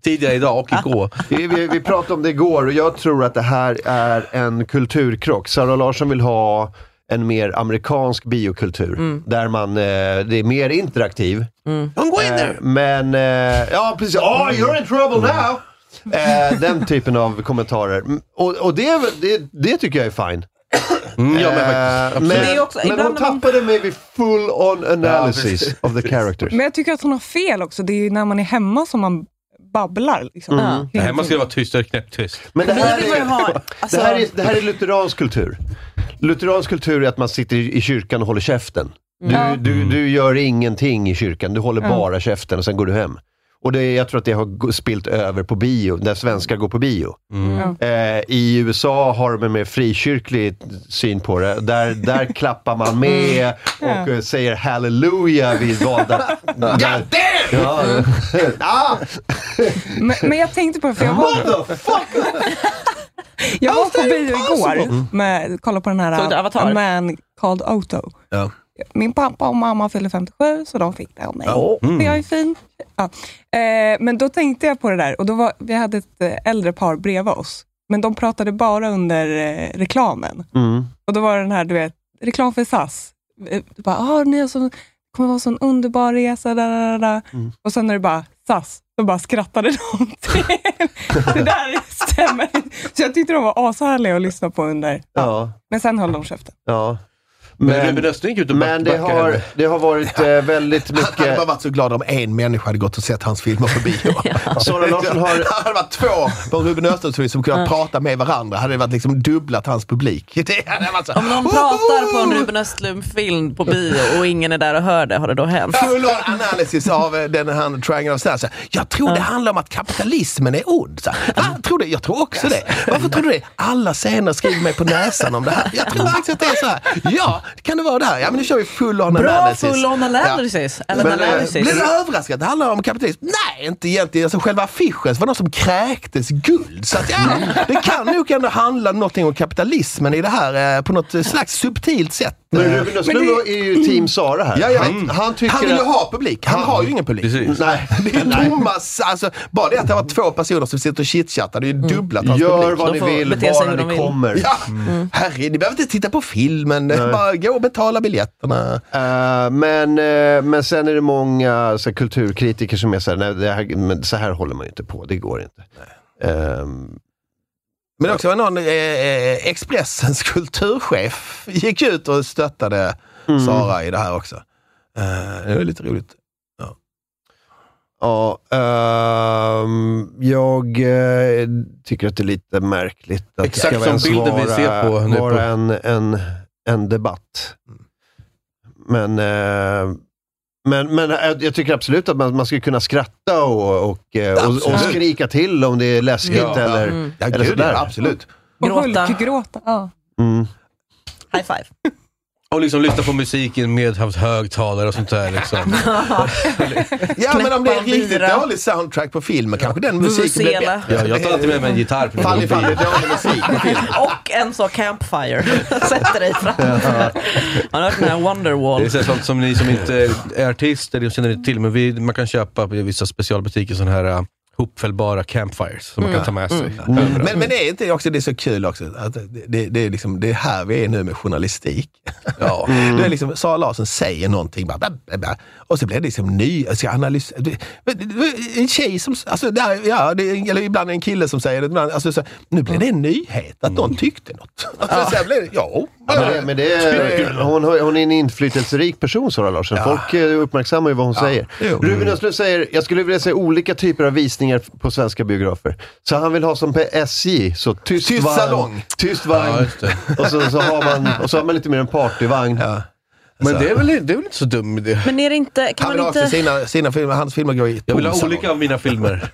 tidigare idag och igår. vi, vi, vi pratade om det igår och jag tror att det här är en kulturkrock. Sara Larsson vill ha en mer amerikansk biokultur. Mm. Där man, eh, det är mer interaktiv. Don't go in Eh, there! Men, eh, ja precis. Oh, Mm. you're in trouble now! Eh, den typen av kommentarer. Mm, Och, och det, är väl- det, det tycker jag är fine. Mm, ja, men Eh, faktiskt. Absolut. men, Det är också- men ibland hon när man- tappade mig vid full on analysis precis. of the characters. Men jag tycker att hon har fel också. Det är ju när man är hemma som man babblar. Liksom. Mm. Ja. Hemma ska det vara tyst, och knäpptyst. Men det här, är, alltså- det, här är, det här är lutheransk kultur. Lutheransk kultur är att man sitter i i kyrkan och håller käften. Du, Mm. du, du gör ingenting i kyrkan, du håller Mm. bara käften och sen går du hem. Och det, jag tror att det har gå- spilt över på bio, när svenskar går på bio. Mm. Eh, I USA har de en mer frikyrklig syn på det. Där, där klappar man med och eh, säger halleluja vid valda... God damn! Ja. ah! Men, men jag tänkte på det, för jag var, jag var på bio Mm. igår med kolla på den Såg du här Avatar? A Man called Otto. Ja. Min pappa och mamma fyller 57, så de fick det av mig. Ja. Mm. För jag är fin. Ja. Eh, men då tänkte jag på det där och då var, vi hade ett eh, äldre par bredvid oss, men de pratade bara under eh, reklamen. Mm. Och då var det den här, du vet, reklam för SAS. Eh, Du bara, ah, ni har så, det kommer vara en sån underbar resa. Da, da, da, da. Och sen när det bara SAS, då bara skrattade de. till- det där stämmer. Så jag tyckte de var ashärliga att lyssna på under. Ja. Men sen höll de käften. Ja. Men Ruben Östlund gick ut och men det backade har, henne. det har varit eh, väldigt mycket... Jag hade bara varit så glad om en människa hade gått och sett hans filmer på bio. Sara Larsson har- Det hade varit två på Ruben Östlunds som kunde Ja. prata med varandra. hade det varit liksom dubblat hans publik. Det hade varit så här, Om någon pratar på en Ruben Östlund-film på bio och ingen är där och hör det, har det då hänt? Full on analysis av eh, den här Triangle of Sadness. Jag tror det handlar om att kapitalismen är ond. Så här, Va? Tror du? Jag tror också det. Varför tror du det? Alla scener skriver mig på näsan om det här. Jag tror faktiskt att det är så här. Ja, kan det vara det här? Ja, men nu kör vi full on Bra analysis. full on analysis. Eller Men, eh, analysis. Blir du överraskad? Det handlar om kapitalism. Nej, inte egentligen. Alltså, själva affischen så var det någon som kräktes guld. Så att, ja, Mm. det kan nog ändå handla om någonting om kapitalismen i det här eh, på något eh, slags subtilt sätt. Men Eh, Ruben Östlund är ju team Sara här. Ja, ja. Han, han, tycker vill ju att- ha publik. Han har ju ingen publik. Nej. Det är ju tomma... Alltså, bara det att det var två personer som sitter och chitchattar, det är ju dubblat hans Mm. Gör publik. vad ni De får vill, bete sig bara hur de ni vill. kommer. Mm. Ja. Herre, ni behöver inte titta på filmen. Bara gå och betala biljetterna. Eh, men, eh, men sen är det många så här, kulturkritiker som är så här, nej, det här, men så här håller man ju inte på, det går inte. Ehm, Men också var någon, eh, eh, Expressens kulturchef gick ut och stöttade Mm. Sara i det här också. Eh, det var lite roligt. Ja, ehm, jag eh, tycker att det är lite märkligt att Exakt det ska som ens bilden vi vara, ser på nu vara på- En, en, en debatt. Men, eh, men, men eh, jag tycker absolut att man, man skulle kunna skratta och, och, eh, och, och Absolut. skrika till om det är läskigt Ja. eller, Mm. Ja, eller gud, sådär. ja, absolut. Och Hultgråta. Ja. Mm. High five. Och liksom lyssna på musiken med hans högtalare och sånt där. Liksom. Ja, men om det är en riktigt dålig soundtrack på filmen kanske den musiken blir Vuvuzela. bättre. Ja, jag tar alltid med mig en gitarr. på Fall ifall det är mobilen. dålig musik. Och en så campfire. Sätter dig fram. Har ni hört den här Wonderwall? Det är så här sånt som ni som inte är artister ni känner inte till, men vi, man kan köpa på vissa specialbutiker sådana här äh, hopfällbara campfires som man kan ta med sig. Mm. Men, men det är inte också, det är så kul också, att det, det, det, är liksom, det är här vi är nu med journalistik. Ja. Mm. Det är liksom, Sara Larsson säger någonting, bara, bla, bla, bla, och så blir det liksom ny, ska analys, det- det- det- en tjej som, alltså, det här, ja, det, eller ibland en kille som säger det, ibland, alltså, så, nu blir det en nyhet att Mm. någon tyckte något. Alltså, så här blir det, ja, Ja, men det, men det är, hon, har- hon är en inflytelserik person, Sara Larsson. Folk eh, uppmärksammar ju vad hon säger. Ruben Östlund säger, jag skulle vilja se olika typer av visningar på svenska biografer. Så han vill ha som på SJ, så tyst, Tyst vagn, salong. tyst vagn. och, så, så har man, och så har man lite mer en partyvagn. Men det är, väl, det är väl inte så dum idé. Men är det inte, kan Han man vill ha också inte... sina, sina filmer, hans filmer går i Jag vill ha tomsalong. olika av mina filmer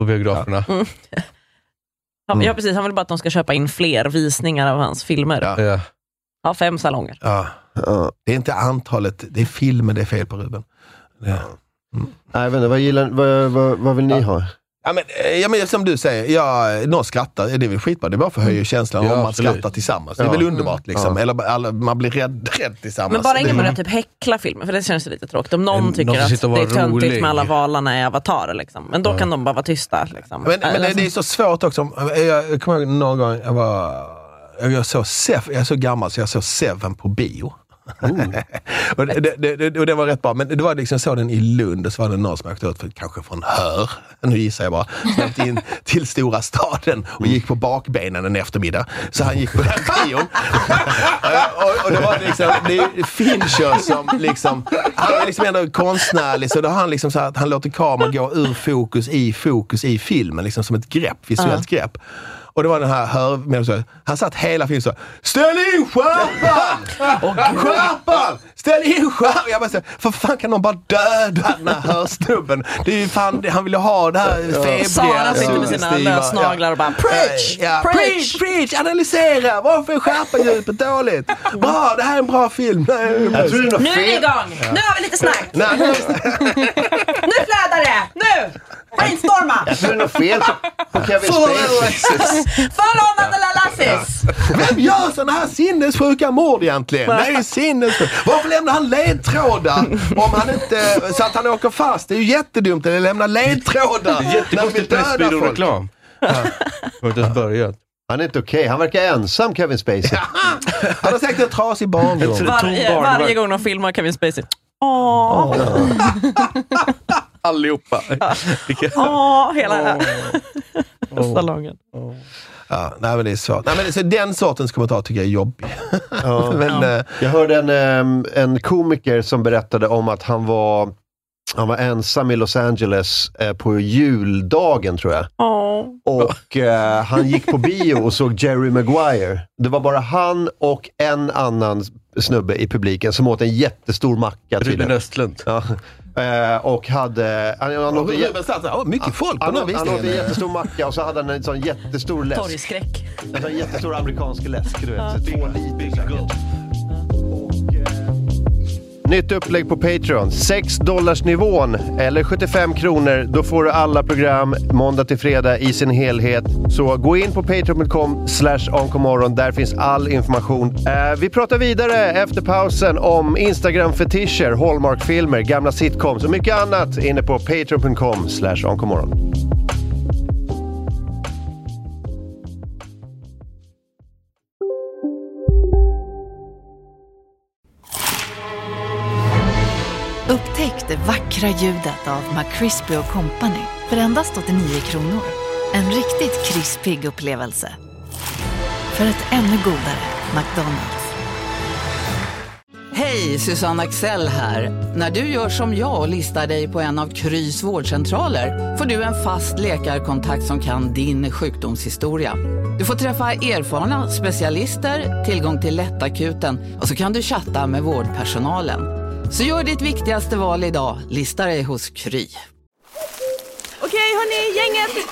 på biograferna. Mm. Ja, ja, precis. Han vill bara att de ska köpa in fler visningar av hans filmer. Ja. Ja. Ja, fem salonger. Ja. Det är inte antalet, det är filmen det är fel på Ruben. Ja. Nej, vänta, vad, gillar, vad, vad, vad vill ni ha? Ja, men, eh, ja, men, som du säger, ja, någon skrattar, det är väl skitbra. Det bara förhöjer känslan Mm. Ja, om man absolut. skrattar tillsammans. Det Ja. är väl underbart. Liksom. Ja. Eller bara- alla, man blir rädd, rädd tillsammans. Men bara det, ingen börjar typ häckla filmen, för det känns ju lite tråkigt. Om någon någon tycker som att det sitter och är var töntigt rolig. med alla valarna i Avatar, liksom. men då Ja. kan de bara vara tysta. Liksom. Men, men det, Eller det är så- så svårt också. Jag, jag kommer ihåg någon gång, jag var jag såg Sev, jag är så gammal så jag såg Seven på bio. och, det, det, det, och det var rätt bra, men det var liksom så den i Lund och så var det någon som åkte ut, för, kanske från Hör, nu gissar jag bara, som åkte in till stora staden och gick på bakbenen en eftermiddag. Så han gick på den bion. och, och det var liksom, det är Fincher som liksom, han är liksom ändå konstnärlig, så då har han liksom så här, att han låter kameran gå ur fokus, i fokus, i filmen, liksom som ett grepp, visuellt grepp. Och det var den här hörmänniskan, han satt hela filmen så Ställ in skärpan! Skärpan! Ställ in skärpan! Jag bara så, för fan kan någon bara döda den här hörsnubben? Det är ju fan, det- han ville ha det här febriga. Sara sitter med sina suggestiva- lösnaglar och bara preach! Ja, preach! preach, preach, analysera! Varför är skärpandjupet dåligt? Bra, det här är en bra film. Det här är Jag tror det är något Nu är fel. vi igång! Ja. Nu har vi lite snack! Nej, nu- Nu flödar det! Nu! Brainstorma! Jag tror det är något fel på, på Kevin Full of Spacey. analysis. Vem gör sådana här sinnessjuka mord egentligen? Det är ju sinnessjukt. Varför lämnar han ledtrådar om han inte, så att han åker fast? Det är ju jättedumt att lämna ledtrådar. när de vill Jättekonstigt döda folk. Pressbyråreklam. Har inte ens börjat. Han är inte okej. Han verkar ensam, Kevin Spacey. Han har säkert en trasig barndom. Varje, varje gång de filmar Kevin Spacey. Åh, Allihopa. åh, hela salongen. Ja, nej men det är svårt. Nej, men så den sortens kommentar tycker jag är jobbig. Ja. Men, eh, Jag hörde en, ehm, en komiker som berättade om att han var, han var ensam i Los Angeles eh, på juldagen, tror jag. Och eh, han gick på bio och såg Jerry Maguire. Det var bara han och en annan snubbe i publiken som åt en jättestor macka. Ruben Östlund. Ja. Eh, och hade... Han, han åt en jä- Ruben satt där, "Åh, mycket folk på han, den här åt- han åt en visningen." jättestor macka och så hade han en sån jättestor läsk. Torgskräck. En sån jättestor amerikansk läsk, du vet. så Två liter säkert. Nytt upplägg på Patreon. 6 dollarsnivån eller 75 kronor. Då får du alla program måndag till fredag i sin helhet. Så gå in på patreon.com slash onkomorron. Där finns all information. Eh, vi pratar vidare efter pausen om Instagram-fetischer, Hallmark-filmer, gamla sitcoms och mycket annat inne på patreon.com slash onkomorron. Upptäck det vackra ljudet av McCrispy Company för endast 89 kronor. En riktigt krispig upplevelse. För ett ännu godare McDonalds. Hej, Susanne Axel här. När du gör som jag och listar dig på en av Krys vårdcentraler får du en fast läkarkontakt som kan din sjukdomshistoria. Du får träffa erfarna specialister, tillgång till lättakuten och så kan du chatta med vårdpersonalen. Så gör ditt viktigaste val idag, listar dig hos Kry. Okej hörni, gänget.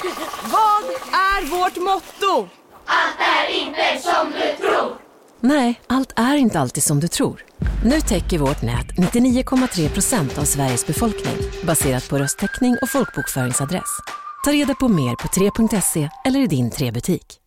Vad är vårt motto? Allt är inte som du tror. Nej, allt är inte alltid som du tror. Nu täcker vårt nät 99,3 procent av Sveriges befolkning baserat på röstteckning och folkbokföringsadress. Ta reda på mer på 3.se eller i din 3-butik.